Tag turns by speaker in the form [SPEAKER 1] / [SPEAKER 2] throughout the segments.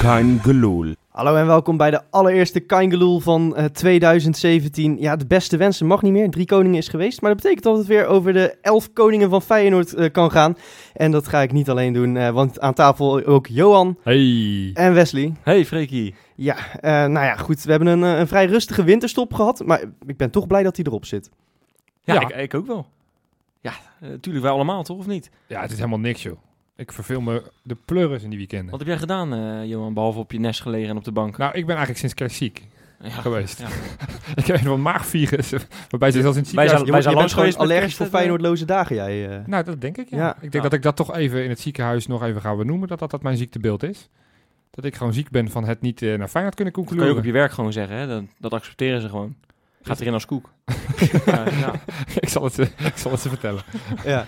[SPEAKER 1] Kein Geloel.
[SPEAKER 2] Hallo en welkom bij de allereerste Kaingeloel van eh, 2017. Ja, de beste wensen mag niet meer. Drie koningen is geweest. Maar dat betekent dat het weer over de elf koningen van Feyenoord eh, kan gaan. En dat ga ik niet alleen doen, eh, want aan tafel ook Johan
[SPEAKER 3] Hey.
[SPEAKER 2] en Wesley.
[SPEAKER 3] Hey Freekie.
[SPEAKER 2] Ja, eh, nou ja, goed. We hebben een, eh, een vrij rustige winterstop gehad. Maar ik ben toch blij dat hij erop zit.
[SPEAKER 3] Ja,
[SPEAKER 4] Ja.
[SPEAKER 3] Ik, ik ook wel. Ja, natuurlijk wij allemaal toch, of niet?
[SPEAKER 4] Ja, het is helemaal niks, joh. Ik verveel me de pleuris in die weekenden.
[SPEAKER 3] Wat heb jij gedaan, eh, Johan, behalve op je nest gelegen en op de bank?
[SPEAKER 4] Nou, ik ben eigenlijk sinds kerst ziek
[SPEAKER 3] Ja.
[SPEAKER 4] geweest.
[SPEAKER 3] ja.
[SPEAKER 4] ik heb een maagvirus, waarbij ze zelfs in het
[SPEAKER 3] Wij
[SPEAKER 4] ziekenhuis...
[SPEAKER 3] zijn-
[SPEAKER 2] je bent
[SPEAKER 3] langs
[SPEAKER 2] gewoon
[SPEAKER 3] geweest met
[SPEAKER 2] allergisch
[SPEAKER 3] kerst,
[SPEAKER 2] voor
[SPEAKER 3] eh,
[SPEAKER 2] Feyenoordloze dagen, jij. eh.
[SPEAKER 4] Nou, dat denk ik, ja.
[SPEAKER 2] Ja.
[SPEAKER 4] Ik denk
[SPEAKER 3] Ja.
[SPEAKER 4] dat ik dat toch even in het ziekenhuis nog even ga benoemen, dat dat, dat mijn ziektebeeld is. Dat ik gewoon ziek ben van het niet eh, naar Feyenoord kunnen
[SPEAKER 3] Dat kun je ook
[SPEAKER 4] concluderen.
[SPEAKER 3] op je werk gewoon zeggen, hè? Dat, dat accepteren ze gewoon. Gaat erin als koek. ja, ja.
[SPEAKER 4] ik, zal het, ze- ik zal het ze vertellen.
[SPEAKER 2] Ja.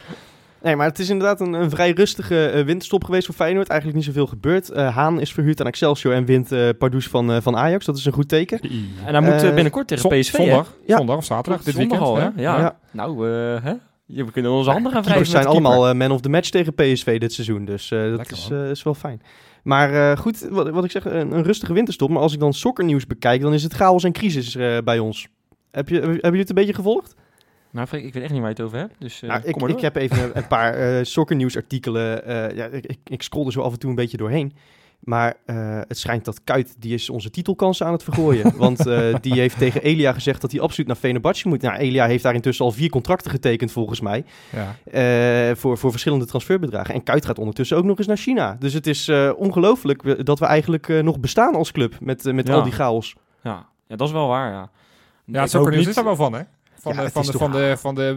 [SPEAKER 2] Nee, maar het is inderdaad een, een vrij rustige eh, winterstop geweest voor Feyenoord. Eigenlijk niet zoveel gebeurd. Eh, Haan is verhuurd aan Excelsior en wint eh Pardoes van, eh, van Ajax. Dat is een goed teken.
[SPEAKER 3] En dan moet
[SPEAKER 2] Eh,
[SPEAKER 3] eh, binnenkort tegen
[SPEAKER 4] Zon-
[SPEAKER 3] PSV, hè?
[SPEAKER 4] zondag,
[SPEAKER 2] Ja.
[SPEAKER 4] zondag of zaterdag, dit
[SPEAKER 3] Zondag
[SPEAKER 4] weekend.
[SPEAKER 3] al, hè?
[SPEAKER 4] hè?
[SPEAKER 3] Ja.
[SPEAKER 2] Ja.
[SPEAKER 3] Nou, eh, hè? Ja, we kunnen onze handen gaan
[SPEAKER 2] Ze
[SPEAKER 3] wrijven
[SPEAKER 2] zijn
[SPEAKER 3] met de keeper.
[SPEAKER 2] allemaal eh, man of the match tegen PSV dit seizoen. Dus eh, dat
[SPEAKER 4] Lekker,
[SPEAKER 2] is,
[SPEAKER 4] man.
[SPEAKER 2] eh, is wel fijn. Maar eh, goed, wat, wat ik zeg, een, een rustige winterstop. Maar als ik dan sokkernieuws bekijk, dan is het chaos en crisis eh, bij ons. Heb je, hebben jullie het een beetje gevolgd?
[SPEAKER 3] Nou, Freek, ik weet echt niet waar je het over hebt, dus eh,
[SPEAKER 2] eh, Nou, ik,
[SPEAKER 3] kom maar
[SPEAKER 2] ik
[SPEAKER 3] door.
[SPEAKER 2] heb even een, een paar eh sokkernieuwsartikelen. eh, ja, ik, ik, ik scroll er zo af en toe een beetje doorheen. Maar eh, het schijnt dat Kuit, die is onze titelkansen aan het vergooien. Want eh, die heeft tegen Elia gezegd dat hij absoluut naar Fenerbahce moet. Nou, Elia heeft daar intussen al vier contracten getekend volgens mij.
[SPEAKER 4] Ja.
[SPEAKER 2] eh, voor, voor verschillende transferbedragen. En Kuit gaat ondertussen ook nog eens naar China. Dus het is eh, ongelooflijk we- dat we eigenlijk eh, nog bestaan als club met, eh, met
[SPEAKER 3] Ja.
[SPEAKER 2] al die chaos.
[SPEAKER 3] Ja. ja, dat is wel waar, ja.
[SPEAKER 4] Ja,
[SPEAKER 3] Ik
[SPEAKER 4] zo
[SPEAKER 3] hoop
[SPEAKER 4] kunnen
[SPEAKER 3] niet-
[SPEAKER 4] is daar wel van, hè? Van,
[SPEAKER 2] Ja,
[SPEAKER 4] de,
[SPEAKER 2] het
[SPEAKER 4] van,
[SPEAKER 2] is
[SPEAKER 4] de,
[SPEAKER 2] toch-
[SPEAKER 4] van, de, van de,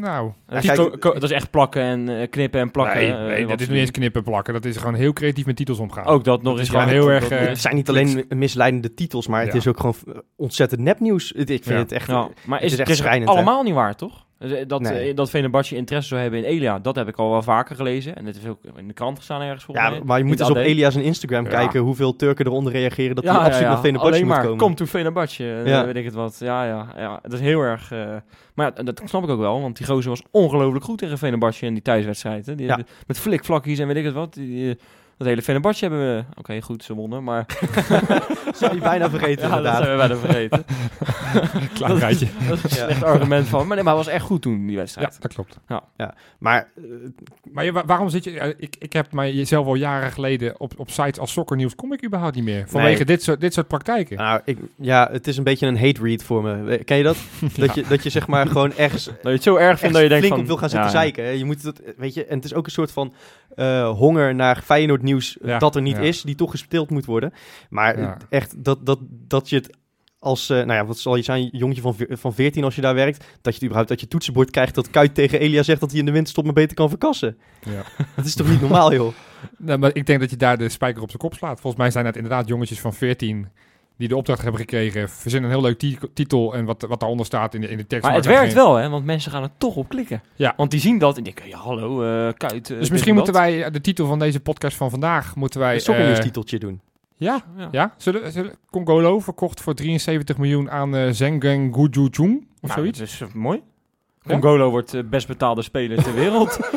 [SPEAKER 4] nou,
[SPEAKER 3] Dat is,
[SPEAKER 2] kijk,
[SPEAKER 3] to- ko- dat is echt plakken en eh, knippen en plakken.
[SPEAKER 4] nee,
[SPEAKER 3] eh,
[SPEAKER 4] nee,
[SPEAKER 3] wat
[SPEAKER 4] dat is
[SPEAKER 3] ze
[SPEAKER 4] niet eens
[SPEAKER 3] doen.
[SPEAKER 4] knippen plakken. Dat is gewoon heel creatief met titels omgaan.
[SPEAKER 3] Ook dat nog
[SPEAKER 4] is
[SPEAKER 3] eens
[SPEAKER 4] gewoon
[SPEAKER 3] waar.
[SPEAKER 4] heel
[SPEAKER 3] Dat-
[SPEAKER 4] erg,
[SPEAKER 3] dat-
[SPEAKER 4] eh,
[SPEAKER 2] Het zijn niet alleen misleidende titels, maar het
[SPEAKER 4] Ja.
[SPEAKER 2] is ook gewoon eh, ontzettend nepnieuws. Het- Ik vind
[SPEAKER 4] Ja.
[SPEAKER 2] het echt...
[SPEAKER 3] Ja, eh, nou, maar
[SPEAKER 2] is
[SPEAKER 3] is het,
[SPEAKER 2] echt
[SPEAKER 3] is het
[SPEAKER 2] schrijnend, hè?
[SPEAKER 3] allemaal niet waar, toch? Eh, Dat,
[SPEAKER 2] Nee.
[SPEAKER 3] eh, dat Fenerbahce interesse zou hebben in Elia, dat heb ik al wel vaker gelezen. En het is ook in de krant gestaan ergens volgens
[SPEAKER 2] Ja,
[SPEAKER 3] mij.
[SPEAKER 2] maar je
[SPEAKER 3] In
[SPEAKER 2] moet
[SPEAKER 3] het
[SPEAKER 2] eens op
[SPEAKER 3] AD.
[SPEAKER 2] Elias zijn Instagram
[SPEAKER 4] Ja.
[SPEAKER 2] kijken hoeveel Turken eronder reageren dat hij absoluut naar Fenerbahce
[SPEAKER 3] Alleen
[SPEAKER 2] moet
[SPEAKER 3] maar,
[SPEAKER 2] komen.
[SPEAKER 3] kom toe Fenerbahce, eh,
[SPEAKER 2] Ja.
[SPEAKER 3] weet ik het wat. Ja, ja, ja, dat is heel erg... eh, maar ja, dat snap ik ook wel, want die gozer was ongelooflijk goed tegen Fenerbahce in die thuiswedstrijd. Hè. Die,
[SPEAKER 2] Ja.
[SPEAKER 3] Met flikvlakjes en weet ik het wat. Die, die- dat hele Fenerbahce hebben we... Oké, goed, ze wonnen, maar...
[SPEAKER 2] Dat zou je bijna vergeten
[SPEAKER 3] ja, dat
[SPEAKER 2] inderdaad.
[SPEAKER 3] zijn we bijna vergeten.
[SPEAKER 4] Klein rijtje.
[SPEAKER 3] dat is een
[SPEAKER 2] Ja.
[SPEAKER 3] slecht argument van... Maar, nee, maar hij was echt goed toen, die
[SPEAKER 4] Ja,
[SPEAKER 3] wedstrijd.
[SPEAKER 4] dat klopt.
[SPEAKER 2] Maar eh,
[SPEAKER 4] Maar je- wa- waarom zit je... ja, Ik, ik heb mij zelf al jaren geleden op, op sites als sokkernieuws kom ik überhaupt niet meer. Vanwege
[SPEAKER 2] Nee.
[SPEAKER 4] dit, soort, dit soort praktijken.
[SPEAKER 2] nou, ik, ja, het is een beetje een hate read voor me. Eh, Ken je dat? Dat, je, dat je zeg maar gewoon ergens,
[SPEAKER 3] Dat je het zo erg
[SPEAKER 2] echt
[SPEAKER 3] vindt dat je denkt
[SPEAKER 2] flink
[SPEAKER 3] van...
[SPEAKER 2] op wil gaan
[SPEAKER 3] ja,
[SPEAKER 2] zitten zeiken. hè. Je moet dat, weet je, en het is ook een soort van eh, honger naar Feyenoord nieuws eh,
[SPEAKER 4] Ja,
[SPEAKER 2] dat er niet
[SPEAKER 4] ja.
[SPEAKER 2] is, die toch gespeeld moet worden. Maar
[SPEAKER 4] Ja.
[SPEAKER 2] eh, echt dat, dat, dat je het als, eh, nou ja, wat zal je zijn, jongetje van, veer- van 14 als je daar werkt, dat je het überhaupt uit je toetsenbord krijgt dat Kuit tegen Elia zegt dat hij in de winterstop maar beter kan verkassen.
[SPEAKER 4] Ja.
[SPEAKER 2] Dat is toch niet normaal, joh?
[SPEAKER 4] Nou, maar ik denk dat je daar de spijker op de kop slaat. Volgens mij zijn het inderdaad jongetjes van 14 die de opdracht hebben gekregen. Verzinnen een heel leuk ti- titel en wat, wat daaronder staat in de, in de tekst.
[SPEAKER 3] Maar het
[SPEAKER 4] maakt
[SPEAKER 3] werkt
[SPEAKER 4] geen-
[SPEAKER 3] wel, hè? Want mensen gaan er toch op klikken.
[SPEAKER 4] Ja.
[SPEAKER 3] Want die zien dat en denken, ja, hallo, eh kuit. eh,
[SPEAKER 4] Dus
[SPEAKER 3] dit
[SPEAKER 4] misschien
[SPEAKER 3] en
[SPEAKER 4] moeten
[SPEAKER 3] dat.
[SPEAKER 4] wij eh, de titel van deze podcast van vandaag... Moeten wij,
[SPEAKER 2] Een sokkennieuwstiteltje
[SPEAKER 4] eh,
[SPEAKER 2] titeltje doen.
[SPEAKER 4] ja,
[SPEAKER 3] Ja.
[SPEAKER 4] Ja, zullen, zullen, Congolo verkocht voor 73 miljoen aan eh Zengeng Gujuchung of
[SPEAKER 3] Nou,
[SPEAKER 4] zoiets.
[SPEAKER 3] Dat is eh, mooi.
[SPEAKER 4] Ja.
[SPEAKER 3] Congolo wordt de best betaalde speler ter wereld.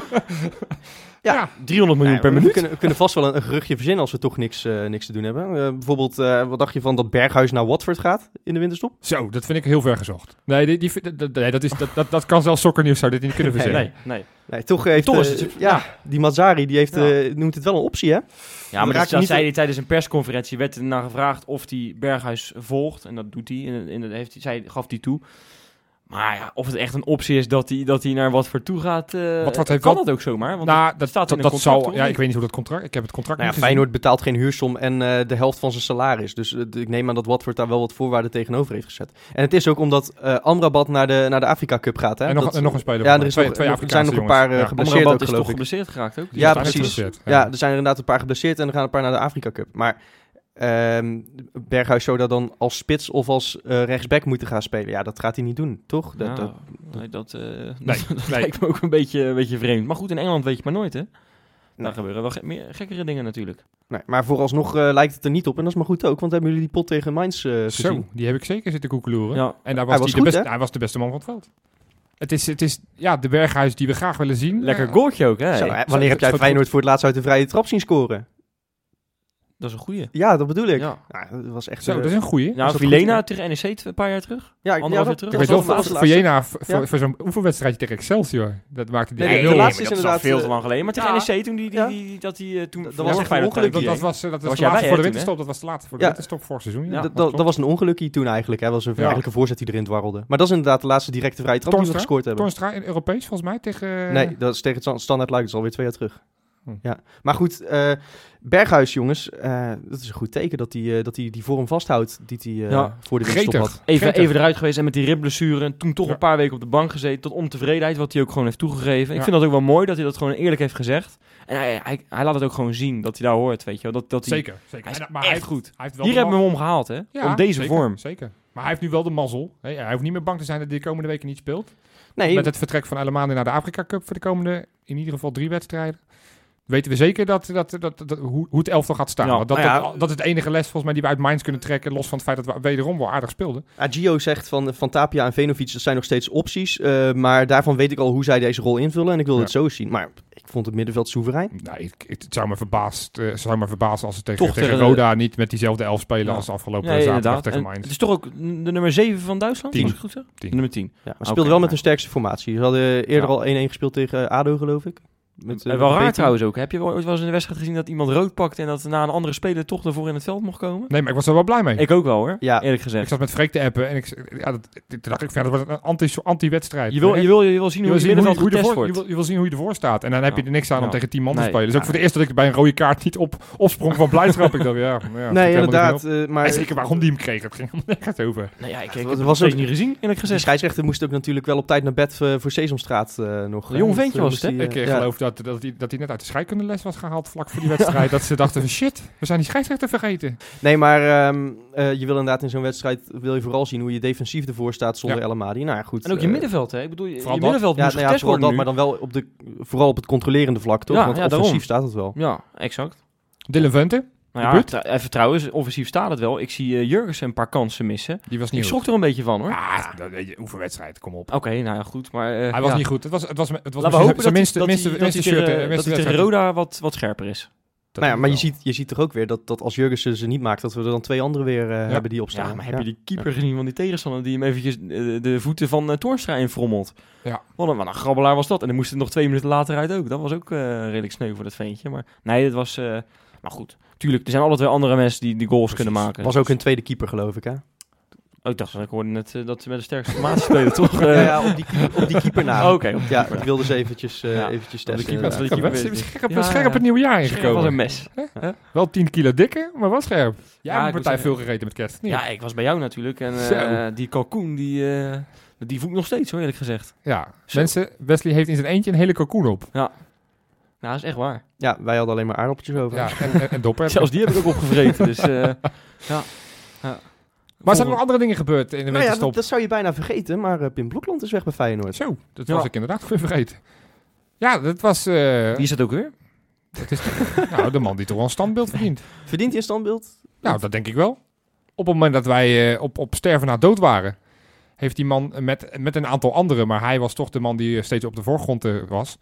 [SPEAKER 2] Ja.
[SPEAKER 3] 300 miljoen
[SPEAKER 2] Nou,
[SPEAKER 3] per
[SPEAKER 2] we
[SPEAKER 3] minuut.
[SPEAKER 2] Kunnen, we kunnen vast wel een, een geruchtje verzinnen als we toch niks, eh, niks te doen hebben. Eh, bijvoorbeeld, eh, wat dacht je van dat Berghuis naar Watford gaat in de winterstop?
[SPEAKER 4] Zo, dat vind ik heel ver gezocht. Nee, die, die, vind- dat, nee dat, is, dat, dat, dat kan zelfs sokkernieuws zou dit niet kunnen verzinnen.
[SPEAKER 3] Nee, nee.
[SPEAKER 2] Nee, toch heeft...
[SPEAKER 3] Toch is
[SPEAKER 2] eh,
[SPEAKER 3] het-
[SPEAKER 2] ja, die Mazzari, die heeft,
[SPEAKER 3] Ja.
[SPEAKER 2] eh, noemt het wel een optie, hè?
[SPEAKER 3] Ja,
[SPEAKER 2] raak
[SPEAKER 3] maar dat,
[SPEAKER 2] je
[SPEAKER 3] dat
[SPEAKER 2] niet-
[SPEAKER 3] zei hij tijdens een persconferentie. Werd er naar gevraagd of hij Berghuis volgt. En dat doet hij. En, en dat heeft, hij- zij, gaf hij toe. Maar ja, of het echt een optie is dat hij, dat hij naar wat voor toe gaat. eh,
[SPEAKER 4] Wat- wat heeft
[SPEAKER 3] kan
[SPEAKER 4] wel-
[SPEAKER 3] dat ook zomaar? Want
[SPEAKER 4] Nou,
[SPEAKER 3] het
[SPEAKER 4] dat,
[SPEAKER 3] staat in
[SPEAKER 4] dat, dat
[SPEAKER 3] een contract,
[SPEAKER 4] zal,
[SPEAKER 3] toch?
[SPEAKER 4] ja, ik weet niet hoe dat contract, ik heb het contract
[SPEAKER 2] Nou ja,
[SPEAKER 4] niet gezien.
[SPEAKER 2] Feyenoord betaalt geen huursom en eh, de helft van zijn salaris. Dus eh, ik neem aan dat Watford daar wel wat voorwaarden tegenover heeft gezet. En het is ook omdat eh, Amrabat naar de, naar de Afrika Cup gaat, hè?
[SPEAKER 4] En nog,
[SPEAKER 2] Dat- eh,
[SPEAKER 4] en nog een speler.
[SPEAKER 2] Ja,
[SPEAKER 4] van.
[SPEAKER 2] er is
[SPEAKER 4] twee,
[SPEAKER 2] nog-
[SPEAKER 4] twee
[SPEAKER 2] er
[SPEAKER 4] Afrikaanse
[SPEAKER 2] zijn nog een
[SPEAKER 4] jongens.
[SPEAKER 2] paar, eh,
[SPEAKER 4] Ja,
[SPEAKER 2] ge- geblesseerd
[SPEAKER 3] Amrabat
[SPEAKER 2] ook,
[SPEAKER 3] is
[SPEAKER 2] geloof
[SPEAKER 3] toch
[SPEAKER 2] ik.
[SPEAKER 3] geblesseerd geraakt ook? Dus
[SPEAKER 4] die
[SPEAKER 2] ja,
[SPEAKER 4] zijn net
[SPEAKER 2] precies.
[SPEAKER 4] gezet,
[SPEAKER 2] Ja, er zijn inderdaad een paar geblesseerd en er gaan een paar naar de Afrika Cup. Maar ehm, Berghuis zou daar dan als spits of als eh, rechtsback moeten gaan spelen. Ja, dat gaat hij niet doen, toch? Dat,
[SPEAKER 3] Ja,
[SPEAKER 2] dat-
[SPEAKER 3] nee, dat, eh,
[SPEAKER 4] Nee,
[SPEAKER 3] dat
[SPEAKER 4] nee.
[SPEAKER 3] lijkt me ook een beetje, een beetje vreemd. Maar goed, in Engeland weet je maar nooit, hè?
[SPEAKER 2] Nee.
[SPEAKER 3] Daar gebeuren wel gek- meer gekkere dingen natuurlijk.
[SPEAKER 2] nee, maar vooralsnog eh, lijkt het er niet op. En dat is maar goed ook, want hebben jullie die pot tegen Mainz eh, gezien?
[SPEAKER 4] Zo, die heb ik zeker zitten koekeloeren.
[SPEAKER 3] Ja.
[SPEAKER 4] En
[SPEAKER 2] Hij
[SPEAKER 4] daar was hij,
[SPEAKER 2] was
[SPEAKER 4] de
[SPEAKER 2] goed,
[SPEAKER 4] beste,
[SPEAKER 2] hè?
[SPEAKER 4] hij was de beste man van het veld. Het is, het is ja, de berghuis die we graag willen zien.
[SPEAKER 3] Lekker
[SPEAKER 4] Ja.
[SPEAKER 3] goaltje ook, hè?
[SPEAKER 2] Zo,
[SPEAKER 3] Ja,
[SPEAKER 2] hè, wanneer heb jij
[SPEAKER 4] zo-
[SPEAKER 2] Feyenoord voor het laatst uit de vrije trap zien scoren?
[SPEAKER 3] Dat is een goeie.
[SPEAKER 2] Ja, dat bedoel ik.
[SPEAKER 3] Ja.
[SPEAKER 2] Ja, dat was echt...
[SPEAKER 4] Zo, dus-
[SPEAKER 2] eh,
[SPEAKER 4] dat is een goeie.
[SPEAKER 3] Nou,
[SPEAKER 2] dat
[SPEAKER 3] Vilena
[SPEAKER 2] goed?
[SPEAKER 3] tegen NEC twee- een paar jaar terug.
[SPEAKER 2] ja,
[SPEAKER 3] anderhalf
[SPEAKER 2] ja,
[SPEAKER 3] jaar
[SPEAKER 2] dat-
[SPEAKER 3] terug.
[SPEAKER 4] Ik
[SPEAKER 2] dat
[SPEAKER 4] weet wel,
[SPEAKER 2] was
[SPEAKER 4] voor,
[SPEAKER 2] laatste-
[SPEAKER 4] voor Jena, voor,
[SPEAKER 2] Ja.
[SPEAKER 4] voor zo'n oefenwedstrijdje tegen Excelsior, dat maakte die
[SPEAKER 2] Nee,
[SPEAKER 4] nee,
[SPEAKER 2] de
[SPEAKER 3] maar
[SPEAKER 2] laatste is
[SPEAKER 3] dat
[SPEAKER 2] inderdaad,
[SPEAKER 3] al veel te
[SPEAKER 2] eh,
[SPEAKER 3] lang geleden. Maar tegen
[SPEAKER 2] ja.
[SPEAKER 3] NEC toen die, die,
[SPEAKER 2] Ja.
[SPEAKER 3] die- dat die, eh, toen...
[SPEAKER 2] Dat
[SPEAKER 3] ja,
[SPEAKER 2] was
[SPEAKER 3] zeg
[SPEAKER 2] echt
[SPEAKER 3] maar
[SPEAKER 2] een ongeluk,
[SPEAKER 4] dat,
[SPEAKER 3] tuimpje.
[SPEAKER 4] dat was, eh, dat was,
[SPEAKER 3] was
[SPEAKER 4] de
[SPEAKER 3] jij
[SPEAKER 4] laatste
[SPEAKER 3] bij,
[SPEAKER 4] voor
[SPEAKER 3] hè,
[SPEAKER 4] de
[SPEAKER 3] toen,
[SPEAKER 4] winterstop, dat was de laatste voor de
[SPEAKER 2] Ja.
[SPEAKER 4] winterstop vorig seizoen. Ja,
[SPEAKER 3] Ja,
[SPEAKER 2] Dat-
[SPEAKER 4] dat
[SPEAKER 2] dat,
[SPEAKER 4] klopt.
[SPEAKER 2] dat was een ongelukkie toen eigenlijk. Hè. Dat was een,
[SPEAKER 4] Ja.
[SPEAKER 2] eigenlijk een voorzet die erin dwarrelde. Maar dat is inderdaad de laatste directe vrije trap die we
[SPEAKER 4] Torstra?
[SPEAKER 2] gescoord hebben.
[SPEAKER 4] Toornstra in Europees volgens mij tegen... eh,
[SPEAKER 2] Nee, dat is tegen het stand- standaard luik. Dat is alweer twee jaar terug.
[SPEAKER 4] Hm.
[SPEAKER 2] Ja. Maar goed, eh, Berghuis, jongens. eh, dat is een goed teken dat hij eh, dat hij die vorm vasthoudt die hij eh,
[SPEAKER 3] Ja.
[SPEAKER 2] voor de winststop
[SPEAKER 4] Gretig.
[SPEAKER 2] had.
[SPEAKER 3] Even,
[SPEAKER 4] Gretig.
[SPEAKER 3] even eruit geweest en met die ribblessure. En toen toch
[SPEAKER 4] Ja.
[SPEAKER 3] een paar weken op de bank gezeten. Tot ontevredenheid, wat hij ook gewoon heeft toegegeven. Ik
[SPEAKER 4] Ja.
[SPEAKER 3] vind dat ook wel mooi dat hij dat gewoon eerlijk heeft gezegd. En hij, hij, hij laat het ook gewoon zien dat hij daar hoort, weet je wel. Dat, dat hij,
[SPEAKER 4] Zeker, zeker.
[SPEAKER 3] Hij is
[SPEAKER 4] En-
[SPEAKER 3] echt
[SPEAKER 4] heeft-
[SPEAKER 3] goed.
[SPEAKER 4] Hij heeft wel
[SPEAKER 3] Hier
[SPEAKER 4] de
[SPEAKER 3] hebben we
[SPEAKER 4] ma-
[SPEAKER 3] hem omgehaald, hè.
[SPEAKER 4] Ja,
[SPEAKER 3] Om deze
[SPEAKER 4] zeker,
[SPEAKER 3] vorm.
[SPEAKER 4] Zeker. Maar hij heeft nu wel de mazzel. Hè, Hij hoeft niet meer bang te zijn dat hij de komende weken niet speelt.
[SPEAKER 2] Nee,
[SPEAKER 4] Met het vertrek van Elamane naar de Afrika Cup voor de komende, in ieder geval drie wedstrijden. Weten we zeker dat, dat, dat, dat- hoe, hoe het elftal gaat staan.
[SPEAKER 3] Ja,
[SPEAKER 4] Want dat,
[SPEAKER 2] nou ja.
[SPEAKER 4] dat, dat is de enige les volgens mij die we uit Mainz kunnen trekken. Los van het feit dat we wederom wel aardig speelden.
[SPEAKER 2] Agio zegt van, van Tapia en Venovic, dat zijn nog steeds opties. eh, maar daarvan weet ik al hoe zij deze rol invullen. En ik wil
[SPEAKER 4] Ja.
[SPEAKER 2] het zo eens zien. Maar ik vond het middenveld soeverein.
[SPEAKER 4] Nou, ik, ik- het zou me, verbaasd, eh, zou me verbazen als ze tegen,
[SPEAKER 3] Toch
[SPEAKER 4] tegen
[SPEAKER 3] tegen de-
[SPEAKER 4] Roda niet met diezelfde elf spelen
[SPEAKER 3] Ja.
[SPEAKER 4] als afgelopen
[SPEAKER 3] Ja,
[SPEAKER 4] zaterdag
[SPEAKER 3] inderdaad.
[SPEAKER 4] tegen
[SPEAKER 3] En dus-
[SPEAKER 4] Mainz.
[SPEAKER 3] het is toch ook de nummer 7 van Duitsland?
[SPEAKER 4] Tien.
[SPEAKER 3] als ik het goed zeg?
[SPEAKER 4] Tien.
[SPEAKER 3] Nummer 10.
[SPEAKER 2] Ja, maar ze
[SPEAKER 3] Oké,
[SPEAKER 2] speelden wel met
[SPEAKER 3] maar-
[SPEAKER 2] hun sterkste formatie. Ze hadden eerder
[SPEAKER 3] Ja.
[SPEAKER 2] al 1-1 gespeeld tegen eh, ADO, geloof ik. Met, eh,
[SPEAKER 3] En wel
[SPEAKER 2] met
[SPEAKER 3] raar
[SPEAKER 2] Beto.
[SPEAKER 3] trouwens ook. Heb je wel ooit wel eens in de wedstrijd gezien dat iemand rood pakt... en dat na een andere speler toch ervoor in het veld mocht komen?
[SPEAKER 4] Nee, maar ik was er wel blij mee. Ik,
[SPEAKER 3] Ik ook wel, hoor.
[SPEAKER 2] Ja.
[SPEAKER 3] Eerlijk gezegd.
[SPEAKER 4] zat met Freek te appen en ik, ja, dat, toen dacht ik, van, ja, dat wordt een anti- anti-wedstrijd.
[SPEAKER 3] Je wil,
[SPEAKER 4] Hè?
[SPEAKER 3] je, wil, je wil zien
[SPEAKER 4] Je
[SPEAKER 3] hoe
[SPEAKER 4] wil,
[SPEAKER 3] het
[SPEAKER 4] zien hoe,
[SPEAKER 3] middenveld
[SPEAKER 4] je- hoe je
[SPEAKER 3] getest
[SPEAKER 4] ervoor- je,
[SPEAKER 3] wordt.
[SPEAKER 4] wil, je wil zien hoe je ervoor staat. En dan heb je
[SPEAKER 3] Ja.
[SPEAKER 4] er niks aan om
[SPEAKER 3] Ja.
[SPEAKER 4] tegen tien man te
[SPEAKER 3] Nee.
[SPEAKER 4] spelen. Dus ook
[SPEAKER 3] Ja.
[SPEAKER 4] voor de eerste dat ik bij een rode kaart niet op, opsprong van blijdschap. ik dacht, ja, nou ja
[SPEAKER 2] Nee, inderdaad.
[SPEAKER 4] En
[SPEAKER 2] eh, maar
[SPEAKER 4] zeker waarom die hem kreeg. Het ging helemaal nergens over.
[SPEAKER 3] Nou ja, ik,
[SPEAKER 2] Ja,
[SPEAKER 3] ik
[SPEAKER 2] dat
[SPEAKER 3] heb het
[SPEAKER 2] was
[SPEAKER 3] steeds
[SPEAKER 2] ook-
[SPEAKER 3] niet gezien, eerlijk
[SPEAKER 2] de
[SPEAKER 3] gezegd.
[SPEAKER 2] scheidsrechter moest ook natuurlijk wel op tijd naar bed eh, voor Sesamstraat eh, nog.
[SPEAKER 3] Een jong
[SPEAKER 2] hè,
[SPEAKER 3] ventje
[SPEAKER 2] want, eh,
[SPEAKER 3] was het,
[SPEAKER 2] moest
[SPEAKER 4] Ik
[SPEAKER 2] hij,
[SPEAKER 4] eh,
[SPEAKER 2] eh, ja.
[SPEAKER 4] geloof dat, dat, hij, dat hij net uit de scheikundeles was gehaald vlak voor die wedstrijd. Dat ze dachten van shit, we zijn die scheidsrechter vergeten.
[SPEAKER 2] Nee, maar ehm, eh, je wil inderdaad in zo'n wedstrijd wil je vooral zien hoe je defensief ervoor staat zonder
[SPEAKER 4] Ja.
[SPEAKER 2] El Amadi. Nou ja, goed.
[SPEAKER 3] En ook je
[SPEAKER 2] eh,
[SPEAKER 3] middenveld, hè? Ik bedoel, je,
[SPEAKER 4] vooral
[SPEAKER 3] je
[SPEAKER 4] dat.
[SPEAKER 3] middenveld
[SPEAKER 2] Ja,
[SPEAKER 3] moest
[SPEAKER 2] nou ja
[SPEAKER 3] getest
[SPEAKER 2] vooral dat, maar
[SPEAKER 3] worden
[SPEAKER 2] dan wel op de, vooral op het controlerende vlak, toch?
[SPEAKER 3] Ja,
[SPEAKER 2] Want
[SPEAKER 3] ja,
[SPEAKER 2] offensief
[SPEAKER 3] daarom.
[SPEAKER 2] staat het wel.
[SPEAKER 3] nu. Ja, exact.
[SPEAKER 4] Dylan Vente,
[SPEAKER 3] Nou ja,
[SPEAKER 4] Buurt?
[SPEAKER 3] tra- even trouwens, offensief staat het wel. Ik zie eh, Jurgensen een paar kansen missen.
[SPEAKER 4] die was
[SPEAKER 3] Ik
[SPEAKER 4] niet goed.
[SPEAKER 3] schrok er een beetje van, hoor.
[SPEAKER 4] Ah, dat weet je, oefenwedstrijd, kom op.
[SPEAKER 3] Oké, nou ja, goed, maar... eh,
[SPEAKER 4] Hij was
[SPEAKER 3] ja.
[SPEAKER 4] niet goed. Het was, het was, het was
[SPEAKER 3] Laten we hopen dat
[SPEAKER 4] zijn
[SPEAKER 3] hij-
[SPEAKER 4] minste,
[SPEAKER 3] dat hij-
[SPEAKER 4] minste,
[SPEAKER 3] dat
[SPEAKER 4] minste
[SPEAKER 3] hij tegen-
[SPEAKER 4] shirt. eh,
[SPEAKER 3] dat
[SPEAKER 4] minste
[SPEAKER 3] hij tegen
[SPEAKER 4] wedstrijd.
[SPEAKER 3] Roda wat, wat scherper is.
[SPEAKER 4] Dat
[SPEAKER 2] nou ja,
[SPEAKER 4] denk
[SPEAKER 2] maar je
[SPEAKER 4] ik wel.
[SPEAKER 2] ziet, je ziet toch ook weer dat, dat als Jurgensen ze niet maakt, dat we er dan twee anderen weer eh,
[SPEAKER 4] Ja.
[SPEAKER 2] hebben die opstaan.
[SPEAKER 3] Ja, maar heb je die keeper gezien van die tegenstander die hem eventjes eh, de voeten van eh, Toornstra infrommelt?
[SPEAKER 4] Ja.
[SPEAKER 3] Wat een, wat een grabbelaar was dat. En dan moest het nog twee minuten later uit ook. Dat was ook eh, redelijk sneu voor dat ventje. Maar nee, dat was... eh, maar goed, tuurlijk, er zijn alle twee andere mensen die die goals kunnen maken.
[SPEAKER 2] was ook hun tweede keeper, geloof ik, hè?
[SPEAKER 3] Oh, ik dacht, ik hoorde net eh, dat ze met de sterkste formatie spelen, toch? Eh,
[SPEAKER 2] ja, ja, op die, keep- op die keeper na.
[SPEAKER 3] oh, Oké, op de
[SPEAKER 2] Ja,
[SPEAKER 3] keeper.
[SPEAKER 2] ik wilde ze eventjes, eh,
[SPEAKER 3] Ja,
[SPEAKER 2] eventjes
[SPEAKER 3] de
[SPEAKER 2] testen.
[SPEAKER 3] keeper.
[SPEAKER 2] inderdaad.
[SPEAKER 3] Dat is
[SPEAKER 4] Ja,
[SPEAKER 3] weet
[SPEAKER 4] ze-
[SPEAKER 3] ik.
[SPEAKER 4] scherp,
[SPEAKER 3] Ja,
[SPEAKER 4] scherp
[SPEAKER 3] ja.
[SPEAKER 4] het nieuwe jaar
[SPEAKER 3] Scherp
[SPEAKER 4] ingekomen.
[SPEAKER 3] was een mes.
[SPEAKER 4] Wel 10 kilo dikker, maar wel scherp. Jij hebt
[SPEAKER 3] Ja, ik
[SPEAKER 4] een
[SPEAKER 3] was
[SPEAKER 4] partij
[SPEAKER 3] een-
[SPEAKER 4] veel gegeten met kerst. niet?
[SPEAKER 3] Ja, ik was bij jou natuurlijk. En eh,
[SPEAKER 4] Zo.
[SPEAKER 3] die kalkoen, die, eh, die voel ik nog steeds, hoor, eerlijk gezegd.
[SPEAKER 4] Ja,
[SPEAKER 3] Zo.
[SPEAKER 4] mensen, Wesley heeft in zijn eentje een hele kalkoen op.
[SPEAKER 3] Nou, dat is echt waar.
[SPEAKER 2] Ja, wij hadden alleen maar aardappeltjes over.
[SPEAKER 4] Ja, en, en, en dopper.
[SPEAKER 3] Zelfs die heb ik ook opgevreten, dus... eh, ja. ja.
[SPEAKER 4] Maar zijn
[SPEAKER 3] Volgende-
[SPEAKER 4] er nog andere dingen gebeurd in de
[SPEAKER 2] Nou ja,
[SPEAKER 4] winterstop?
[SPEAKER 2] dat, dat zou je bijna vergeten, maar eh, Pim Blokland is weg bij Feyenoord.
[SPEAKER 4] Zo, dat
[SPEAKER 3] Ja.
[SPEAKER 4] was ik inderdaad weer vergeten. Ja, dat was eh,
[SPEAKER 3] Wie is dat ook weer?
[SPEAKER 4] dat is, nou, de man die toch wel een standbeeld verdient.
[SPEAKER 2] Verdient hij een standbeeld?
[SPEAKER 4] Nou, dat denk ik wel. Op het moment dat wij eh, op, op sterven na dood waren, heeft die man eh, met, met een aantal anderen, maar hij was toch de man die eh, steeds op de voorgrond eh, was,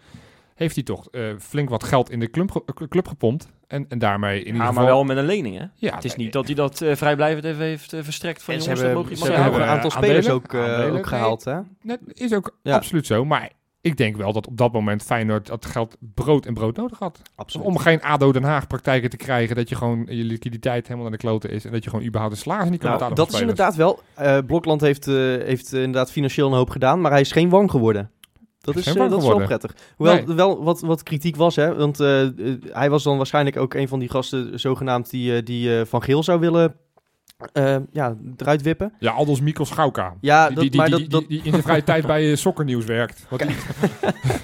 [SPEAKER 4] heeft hij toch eh, flink wat geld in de club, ge- eh, club gepompt. En, en daarmee in ieder
[SPEAKER 3] Ja,
[SPEAKER 4] geval...
[SPEAKER 3] maar wel met een lening, hè?
[SPEAKER 4] Ja,
[SPEAKER 3] Het is
[SPEAKER 4] nee,
[SPEAKER 3] niet dat hij dat eh, vrijblijvend even heeft eh, verstrekt van
[SPEAKER 2] En ze
[SPEAKER 3] jongens,
[SPEAKER 2] hebben,
[SPEAKER 3] dat
[SPEAKER 2] ze
[SPEAKER 3] mag je- mag
[SPEAKER 2] hebben
[SPEAKER 3] je
[SPEAKER 2] ook een
[SPEAKER 4] hebben
[SPEAKER 3] houden.
[SPEAKER 2] aantal
[SPEAKER 4] aandelen.
[SPEAKER 2] spelers ook, eh,
[SPEAKER 4] Aandelen, nee.
[SPEAKER 2] ook gehaald, hè?
[SPEAKER 4] Dat is ook
[SPEAKER 2] Ja.
[SPEAKER 4] absoluut zo. Maar ik denk wel dat op dat moment Feyenoord dat geld brood en brood nodig had.
[SPEAKER 2] Absoluut.
[SPEAKER 4] Om geen ADO Den Haag praktijken te krijgen. Dat je gewoon je liquiditeit helemaal naar de kloten is. En dat je gewoon überhaupt de salaris niet kan
[SPEAKER 2] Nou,
[SPEAKER 4] betalen.
[SPEAKER 2] dat
[SPEAKER 4] voor
[SPEAKER 2] is
[SPEAKER 4] spelers.
[SPEAKER 2] inderdaad wel. eh, Blokland heeft, eh, heeft eh, inderdaad financieel een hoop gedaan, maar hij is geen wang geworden. Dat
[SPEAKER 4] Hij is
[SPEAKER 2] is,
[SPEAKER 4] geen
[SPEAKER 2] eh,
[SPEAKER 4] wang
[SPEAKER 2] dat is wel
[SPEAKER 4] geworden.
[SPEAKER 2] prettig. Hoewel
[SPEAKER 4] Nee.
[SPEAKER 2] wel wat, wat kritiek was, hè? want eh, eh, hij was dan waarschijnlijk ook een van die gasten zogenaamd die, eh, die eh, Van Geel zou willen eh, ja, eruit wippen.
[SPEAKER 4] Ja, Aldous Mikkel Schouka.
[SPEAKER 2] Ja, Ah,
[SPEAKER 4] die,
[SPEAKER 2] dat-
[SPEAKER 4] die, die,
[SPEAKER 2] maar dat-
[SPEAKER 4] die-
[SPEAKER 2] dat-
[SPEAKER 4] die in de vrije tijd bij eh, Sokkernieuws werkt. Want die-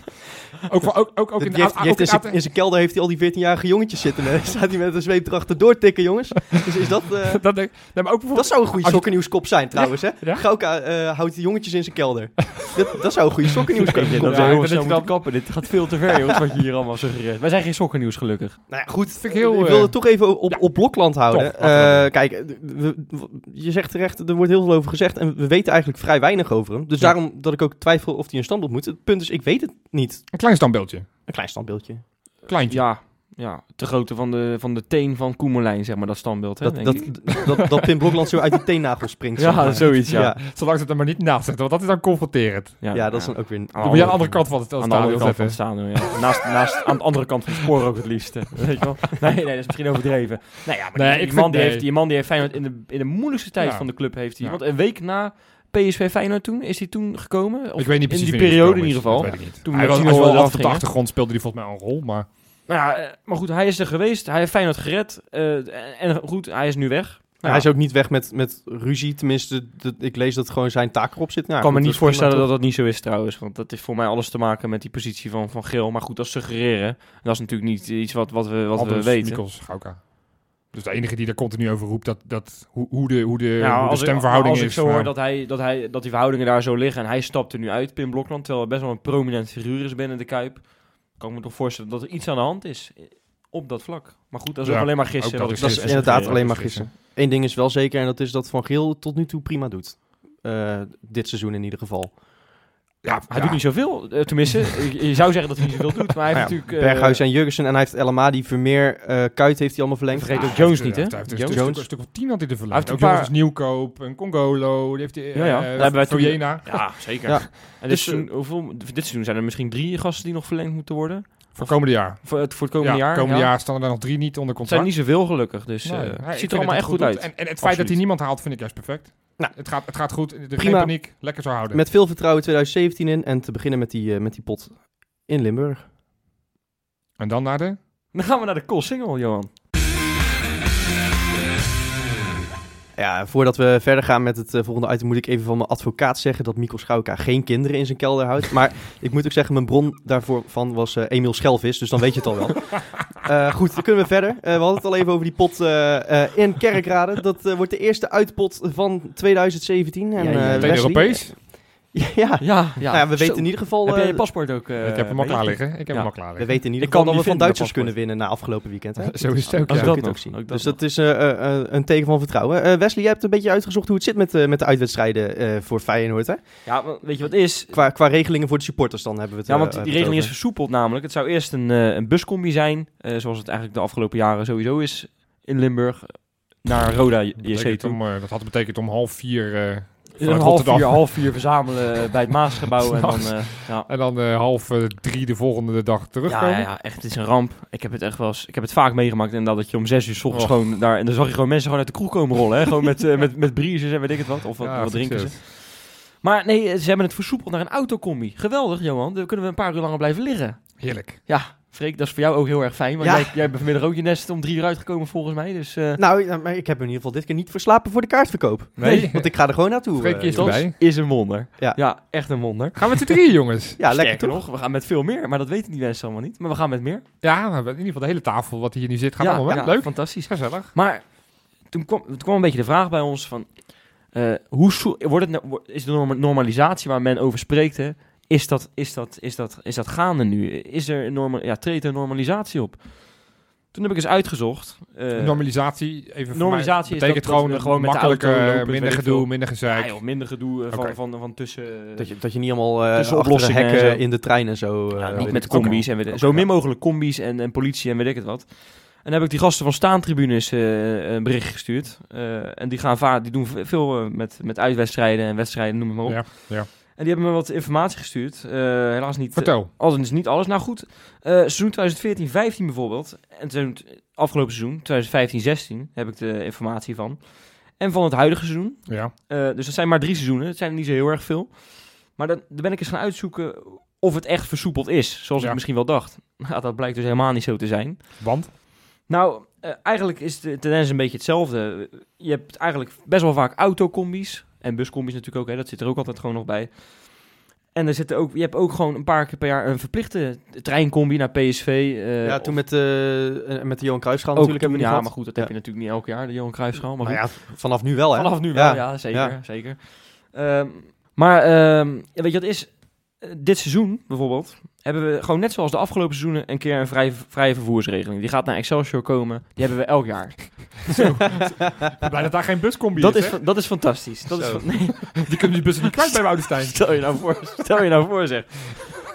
[SPEAKER 4] ook, wel- ook, ook, ook in
[SPEAKER 2] Die heeft- die heeft in
[SPEAKER 4] de
[SPEAKER 3] dus-
[SPEAKER 2] zijn- in zijn kelder heeft hij al die 14-jarige jongetjes zitten. hè. staat hij met een zweep erachter doortikken, jongens. Dus is dat... eh,
[SPEAKER 4] dat, denk- nee, maar ook bijvoorbeeld
[SPEAKER 2] Dat zou een goede
[SPEAKER 4] Als je-
[SPEAKER 2] sokkennieuwskop zijn trouwens, hè?
[SPEAKER 4] ja.
[SPEAKER 2] Gauka eh, houdt de jongetjes in zijn kelder. dat, dat zou een goede sokkennieuwskop zijn.
[SPEAKER 3] Ja, dat
[SPEAKER 4] Ja,
[SPEAKER 3] zou
[SPEAKER 4] ik denk dat je
[SPEAKER 3] moeten
[SPEAKER 4] dat-
[SPEAKER 3] kappen. Dit gaat veel te ver, jongens, wat je hier allemaal suggereert. Wij zijn geen sokkennieuws, gelukkig.
[SPEAKER 2] Nou ja, goed.
[SPEAKER 4] vind ik heel,
[SPEAKER 2] ik
[SPEAKER 4] eh,
[SPEAKER 2] wil het toch even op, op Blokland houden.
[SPEAKER 4] Toch, laten we
[SPEAKER 2] Eh,
[SPEAKER 4] doen.
[SPEAKER 2] kijk, eh, we- we- je zegt terecht, er wordt heel veel over gezegd. En we weten eigenlijk vrij weinig over hem. Dus
[SPEAKER 4] Ja.
[SPEAKER 2] daarom dat ik ook twijfel of hij een standbeeld moet. Het punt is, ik weet het niet.
[SPEAKER 4] een klein standbeeldje.
[SPEAKER 2] Een klein standbeeldje.
[SPEAKER 4] Kleintje.
[SPEAKER 3] Ja, ja, te grootte van de, van de teen van Koemerlijn, zeg maar, dat standbeeld. Hè,
[SPEAKER 2] Dat,
[SPEAKER 3] denk
[SPEAKER 2] dat,
[SPEAKER 3] ik.
[SPEAKER 2] d- dat, dat Pim Blokland zo uit die teennagel springt. zeg
[SPEAKER 3] ja,
[SPEAKER 2] maar.
[SPEAKER 3] zoiets, ja.
[SPEAKER 2] ja.
[SPEAKER 4] Zolang ze het er maar niet naast zetten, want dat is dan confronterend.
[SPEAKER 3] Ja,
[SPEAKER 2] Ja, dat is dan ook weer... een-
[SPEAKER 4] Dan moet je aan de andere kant van het
[SPEAKER 3] aan de andere
[SPEAKER 4] stadion
[SPEAKER 3] kant van
[SPEAKER 4] zetten.
[SPEAKER 3] het stadion, ja. naast, naast, aan de andere kant van het spoor ook het liefst. hè. Weet je wel? Nee, nee, dat is misschien overdreven. Nou ja, maar die-
[SPEAKER 4] Nee,
[SPEAKER 3] die,
[SPEAKER 4] ik
[SPEAKER 3] man
[SPEAKER 4] vind-
[SPEAKER 3] die
[SPEAKER 4] nee.
[SPEAKER 3] heeft, die man die heeft Feyenoord in de, in de moeilijkste tijd
[SPEAKER 4] Ja.
[SPEAKER 3] van de club heeft hij.
[SPEAKER 4] Ja.
[SPEAKER 3] Want een week na PSV Feyenoord toen, is hij toen gekomen? Of
[SPEAKER 4] Ik weet niet precies
[SPEAKER 3] in die
[SPEAKER 4] wanneer
[SPEAKER 3] periode in
[SPEAKER 4] het
[SPEAKER 3] ieder
[SPEAKER 4] gekomen is, dat
[SPEAKER 3] geval.
[SPEAKER 4] weet ik niet.
[SPEAKER 3] Toen
[SPEAKER 4] hij was
[SPEAKER 3] Martino
[SPEAKER 4] hij was wel
[SPEAKER 3] eraf
[SPEAKER 4] altijd op de
[SPEAKER 3] ging, hè?
[SPEAKER 4] achtergrond, speelde hij volgens mij al een rol, maar...
[SPEAKER 3] Nou ja, eh, maar goed, hij is er geweest. Hij heeft Feyenoord gered. eh, en- en goed, hij is nu weg.
[SPEAKER 2] Ja, Hij is ook niet weg met, met ruzie. Tenminste, dat- ik lees dat gewoon zijn taak erop zit. Nou,
[SPEAKER 3] Ik kan me
[SPEAKER 2] goed,
[SPEAKER 3] niet
[SPEAKER 2] dat is prima,
[SPEAKER 3] voorstellen dat dat niet zo is trouwens. Want dat heeft voor mij alles te maken met die positie van Van Geel. Maar goed, dat is suggereren. En dat is natuurlijk niet iets wat, wat we, wat we
[SPEAKER 4] Albers,
[SPEAKER 3] weten.
[SPEAKER 4] Mikkels, Gauka. Dus de enige die daar continu over roept, dat, dat, hoe, hoe de, hoe de, hoe de
[SPEAKER 3] als ik-
[SPEAKER 4] stemverhouding
[SPEAKER 3] als
[SPEAKER 4] is.
[SPEAKER 3] ik zo hoor
[SPEAKER 4] van-
[SPEAKER 3] dat, hij, dat, hij, dat die verhoudingen daar zo liggen en hij stapt er nu uit, Pim Blokland, terwijl hij best wel een prominent figuur is binnen de Kuip, kan ik me toch voorstellen dat er iets aan de hand is eh, op dat vlak. Maar goed, dat is
[SPEAKER 4] Ja,
[SPEAKER 3] ook alleen maar
[SPEAKER 4] ook
[SPEAKER 3] gissen.
[SPEAKER 4] dat
[SPEAKER 3] wat
[SPEAKER 4] is
[SPEAKER 3] ik-
[SPEAKER 2] Dat is inderdaad alleen maar
[SPEAKER 4] dat is
[SPEAKER 2] gissen. Eén ding is wel zeker en dat is dat Van Geel het tot nu toe prima doet. Eh, dit seizoen in ieder geval.
[SPEAKER 4] ja,
[SPEAKER 3] Hij doet niet zoveel, eh, tenminste, je, je zou zeggen dat hij niet zoveel doet, maar hij heeft
[SPEAKER 2] Nou ja,
[SPEAKER 3] natuurlijk... eh,
[SPEAKER 2] Berghuis en Jurgensen en hij heeft El Amadi, Vermeer, eh Kuit heeft hij allemaal verlengd.
[SPEAKER 3] Vergeet ook Jones niet, hè?
[SPEAKER 4] Ah, Hij heeft een
[SPEAKER 3] Jones.
[SPEAKER 4] stuk- een stuk of tien had hij er verlaten.
[SPEAKER 3] Hij
[SPEAKER 4] Ook
[SPEAKER 3] heeft een
[SPEAKER 4] jongens als Nieuwkoop, een Congolo, die heeft hij... eh,
[SPEAKER 3] Ja, ja. Daar hebben wij toen-
[SPEAKER 4] Jena.
[SPEAKER 3] Ja, zeker.
[SPEAKER 2] Ja.
[SPEAKER 3] En dit,
[SPEAKER 2] Dus,
[SPEAKER 3] seizoen,
[SPEAKER 4] eh,
[SPEAKER 3] hoeveel, dit seizoen zijn er misschien drie gasten die nog verlengd moeten worden.
[SPEAKER 4] Voor komende jaar.
[SPEAKER 3] Voor het, voor het komende
[SPEAKER 4] ja,
[SPEAKER 3] jaar.
[SPEAKER 4] komende
[SPEAKER 3] ja.
[SPEAKER 4] jaar staan er dan nog drie niet onder
[SPEAKER 3] Het
[SPEAKER 4] contract.
[SPEAKER 3] zijn niet zoveel gelukkig, dus eh,
[SPEAKER 4] Nee.
[SPEAKER 3] het
[SPEAKER 4] Nee, ik
[SPEAKER 3] ziet
[SPEAKER 4] vind
[SPEAKER 3] er allemaal
[SPEAKER 4] dat
[SPEAKER 3] echt
[SPEAKER 4] hij
[SPEAKER 3] goed uit.
[SPEAKER 4] doet. En, en het feit
[SPEAKER 3] Absoluut.
[SPEAKER 4] dat hij niemand haalt, vind ik juist perfect.
[SPEAKER 2] Nou.
[SPEAKER 4] het, gaat, het gaat goed. Er geen
[SPEAKER 2] Prima.
[SPEAKER 4] paniek. Lekker zo houden.
[SPEAKER 2] Met veel vertrouwen 2017 in en te beginnen met die, eh, met die pot in Limburg.
[SPEAKER 4] En dan naar
[SPEAKER 3] Eh,
[SPEAKER 4] de...
[SPEAKER 3] Dan gaan we naar de cool single, Johan.
[SPEAKER 2] Ja, voordat we verder gaan met het eh, volgende item moet ik even van mijn advocaat zeggen dat Mikkel Schouka geen kinderen in zijn kelder houdt. Maar ik moet ook zeggen, mijn bron daarvoor van was eh, Emiel Schelvis, dus dan weet je het al wel. Eh, goed, dan kunnen we verder. Eh, we hadden het al even over die pot eh, eh, in Kerkrade. Dat eh, wordt de eerste uitpot van 2017. En,
[SPEAKER 3] Ja, ja,
[SPEAKER 2] eh,
[SPEAKER 3] meteen
[SPEAKER 2] Wesley-
[SPEAKER 4] Meteen Europees.
[SPEAKER 3] eh,
[SPEAKER 2] Ja, ja.
[SPEAKER 3] Ja, ja.
[SPEAKER 2] Nou ja, we weten in
[SPEAKER 3] niet.
[SPEAKER 2] ieder geval...
[SPEAKER 3] Heb jij je
[SPEAKER 2] eh,
[SPEAKER 3] paspoort ook? eh,
[SPEAKER 4] ik heb hem al
[SPEAKER 3] bij
[SPEAKER 4] klaar
[SPEAKER 3] je?
[SPEAKER 4] liggen. Ik heb
[SPEAKER 3] Ja.
[SPEAKER 4] hem al klaar
[SPEAKER 2] we
[SPEAKER 4] liggen.
[SPEAKER 2] weten in ieder
[SPEAKER 3] Ik kan
[SPEAKER 2] geval dat we
[SPEAKER 3] hem niet
[SPEAKER 2] van
[SPEAKER 3] vinden, dat
[SPEAKER 2] Duitsers
[SPEAKER 3] paspoort.
[SPEAKER 2] kunnen winnen na afgelopen weekend. Hè?
[SPEAKER 4] Zo is het ook,
[SPEAKER 2] Als
[SPEAKER 4] ja.
[SPEAKER 2] dat
[SPEAKER 3] nog,
[SPEAKER 2] ook zien.
[SPEAKER 3] ook dat
[SPEAKER 2] dus
[SPEAKER 3] nog.
[SPEAKER 2] dat is eh, eh, eh, een teken van vertrouwen. Eh, Wesley, jij hebt een beetje uitgezocht hoe het zit met, eh, met de uitwedstrijden eh, voor Feyenoord. Hè?
[SPEAKER 3] Ja, want weet je wat het is?
[SPEAKER 4] Eh,
[SPEAKER 2] Qua, qua regelingen voor de supporters dan hebben we het
[SPEAKER 3] Ja,
[SPEAKER 2] eh,
[SPEAKER 3] want
[SPEAKER 2] hebben we
[SPEAKER 3] die
[SPEAKER 2] het
[SPEAKER 3] regeling is
[SPEAKER 2] over.
[SPEAKER 3] versoepeld namelijk. Het zou eerst een, eh, een buscombi zijn, eh, zoals het eigenlijk de afgelopen jaren sowieso is in Limburg, naar Roda JC
[SPEAKER 4] Betekent
[SPEAKER 3] toe.
[SPEAKER 4] om, eh, dat had betekend om half vier... eh,
[SPEAKER 3] Een
[SPEAKER 4] vanuit
[SPEAKER 3] half
[SPEAKER 4] Rotterdam.
[SPEAKER 3] vier, half vier verzamelen eh, bij het Maasgebouw en dan...
[SPEAKER 4] S'nachts.
[SPEAKER 3] eh, ja.
[SPEAKER 4] En dan eh, half eh, drie de volgende dag terugkomen.
[SPEAKER 3] Ja, ja, ja, echt, het is een ramp. Ik heb het echt wel eens, ik heb het vaak meegemaakt inderdaad, dat je om zes uur s ochtends
[SPEAKER 4] Och.
[SPEAKER 3] gewoon daar, en dan zag je gewoon mensen gewoon uit de kroeg komen rollen, hè? gewoon met, eh, met, met briezers en weet ik het wat, of wat,
[SPEAKER 4] Ja, eh,
[SPEAKER 3] wat drinken ze.
[SPEAKER 4] succes.
[SPEAKER 3] Maar nee, ze hebben het versoepeld naar een autocombi. Geweldig, Johan. Dan kunnen we een paar uur langer blijven liggen.
[SPEAKER 4] Heerlijk.
[SPEAKER 3] Ja, Freek, dat is voor jou ook heel erg fijn. Want
[SPEAKER 2] Ja.
[SPEAKER 3] jij, jij bent vanmiddag ook je nest om drie uur uitgekomen volgens mij. Dus eh,
[SPEAKER 2] Nou, ja, maar ik heb in ieder geval dit keer niet verslapen voor de kaartverkoop.
[SPEAKER 4] Nee.
[SPEAKER 2] Want ik ga er gewoon naartoe.
[SPEAKER 4] Freek
[SPEAKER 2] eh,
[SPEAKER 4] is
[SPEAKER 2] jongens.
[SPEAKER 4] erbij.
[SPEAKER 3] is een wonder.
[SPEAKER 2] Ja.
[SPEAKER 3] echt een wonder.
[SPEAKER 4] Gaan we met z'n drieën, jongens.
[SPEAKER 2] Ja, lekker
[SPEAKER 3] Sterker
[SPEAKER 2] toch?
[SPEAKER 3] nog, we gaan met veel meer. Maar dat weten die mensen allemaal niet. Maar we gaan met meer.
[SPEAKER 4] Ja, we hebben in ieder geval de hele tafel wat hier nu zit gaat
[SPEAKER 3] ja,
[SPEAKER 4] allemaal
[SPEAKER 3] ja,
[SPEAKER 4] mee. Leuk.
[SPEAKER 3] Fantastisch.
[SPEAKER 4] Gezellig.
[SPEAKER 3] Maar toen kwam, toen kwam een beetje de vraag bij ons van... eh, hoe soe- wordt het, nou- wo- is de norma- normalisatie waar men over spreekt, hè, is, dat, is, dat, is, dat, is dat gaande nu? Is er een norma- ja, treedt er normalisatie op? Toen heb ik eens uitgezocht. eh,
[SPEAKER 4] normalisatie, even voor
[SPEAKER 3] normalisatie
[SPEAKER 4] mij, betekent
[SPEAKER 3] is dat- dat
[SPEAKER 4] gewoon,
[SPEAKER 3] we gewoon met de
[SPEAKER 4] makkelijker,
[SPEAKER 3] auto lopen, weet
[SPEAKER 4] minder
[SPEAKER 3] ik
[SPEAKER 4] gedoe,
[SPEAKER 3] veel.
[SPEAKER 4] minder gezeik.
[SPEAKER 3] ja, Ah, joh, minder gedoe eh, van,
[SPEAKER 4] Oké.
[SPEAKER 3] van, van, tussen... eh,
[SPEAKER 2] Dat je, dat je niet allemaal eh
[SPEAKER 3] Tussen
[SPEAKER 2] achter de
[SPEAKER 3] oplossingen en
[SPEAKER 2] hekken
[SPEAKER 3] zo.
[SPEAKER 2] in de trein en zo... eh,
[SPEAKER 3] Ja,
[SPEAKER 2] weet
[SPEAKER 3] niet met
[SPEAKER 2] ik.
[SPEAKER 3] combi's en weet,
[SPEAKER 2] Ook,
[SPEAKER 3] zo
[SPEAKER 2] ja.
[SPEAKER 3] min mogelijk combi's en, en politie en weet ik het wat. En dan heb ik die gasten van staantribunes eh, een bericht gestuurd. Eh, en die, gaan va- die doen v- veel eh, met, met uitwedstrijden en wedstrijden, noem het maar op.
[SPEAKER 4] Ja, ja.
[SPEAKER 3] En die hebben me wat informatie gestuurd. Eh, helaas niet, eh,
[SPEAKER 4] Vertel.
[SPEAKER 3] alles is niet alles. Nou goed, eh seizoen 2014-15 bijvoorbeeld. En seizoen- afgelopen seizoen, 2015-16, heb ik de informatie van. En van het huidige seizoen,
[SPEAKER 4] Ja.
[SPEAKER 3] eh, dus dat zijn maar drie seizoenen. Het zijn er niet zo heel erg veel. Maar dan, dan ben ik eens gaan uitzoeken of het echt versoepeld is. Zoals
[SPEAKER 4] Ja.
[SPEAKER 3] ik misschien wel dacht. Nou, dat blijkt dus helemaal niet zo te zijn.
[SPEAKER 4] Want?
[SPEAKER 3] Nou, eh, eigenlijk is de tendens een beetje hetzelfde. Je hebt eigenlijk best wel vaak autocombi's. En buscombi's natuurlijk ook. Hè, dat zit er ook altijd gewoon nog bij. En er zitten ook, je hebt ook gewoon een paar keer per jaar een verplichte treincombi naar PSV. eh,
[SPEAKER 2] Ja, toen
[SPEAKER 3] of-
[SPEAKER 2] met, eh, eh, met de Johan Cruijffschaal
[SPEAKER 3] ook
[SPEAKER 2] natuurlijk hebben we
[SPEAKER 3] toen, Ja,
[SPEAKER 2] die
[SPEAKER 3] maar
[SPEAKER 2] gehad.
[SPEAKER 3] goed, dat heb je natuurlijk niet elk jaar, de Johan Cruijffschaal. Maar
[SPEAKER 2] Nou
[SPEAKER 3] goed.
[SPEAKER 2] ja, vanaf nu wel hè?
[SPEAKER 3] Vanaf nu wel, ja, zeker. zeker. Ehm, maar ehm, ja, weet je wat is? Eh, dit seizoen bijvoorbeeld hebben we gewoon net zoals de afgelopen seizoenen een keer een vrije, vrije vervoersregeling. Die gaat naar Excelsior komen. Die hebben we elk jaar.
[SPEAKER 4] Blij dat daar geen buscombi
[SPEAKER 3] Dat
[SPEAKER 4] is,
[SPEAKER 3] is,
[SPEAKER 4] hè?
[SPEAKER 3] fa- dat is fantastisch. Dat is
[SPEAKER 2] Zo.
[SPEAKER 3] fa- nee,
[SPEAKER 4] Die kunnen die bussen niet kwijt bij Woudenstein.
[SPEAKER 3] stel, je nou voor, stel je nou voor zeg.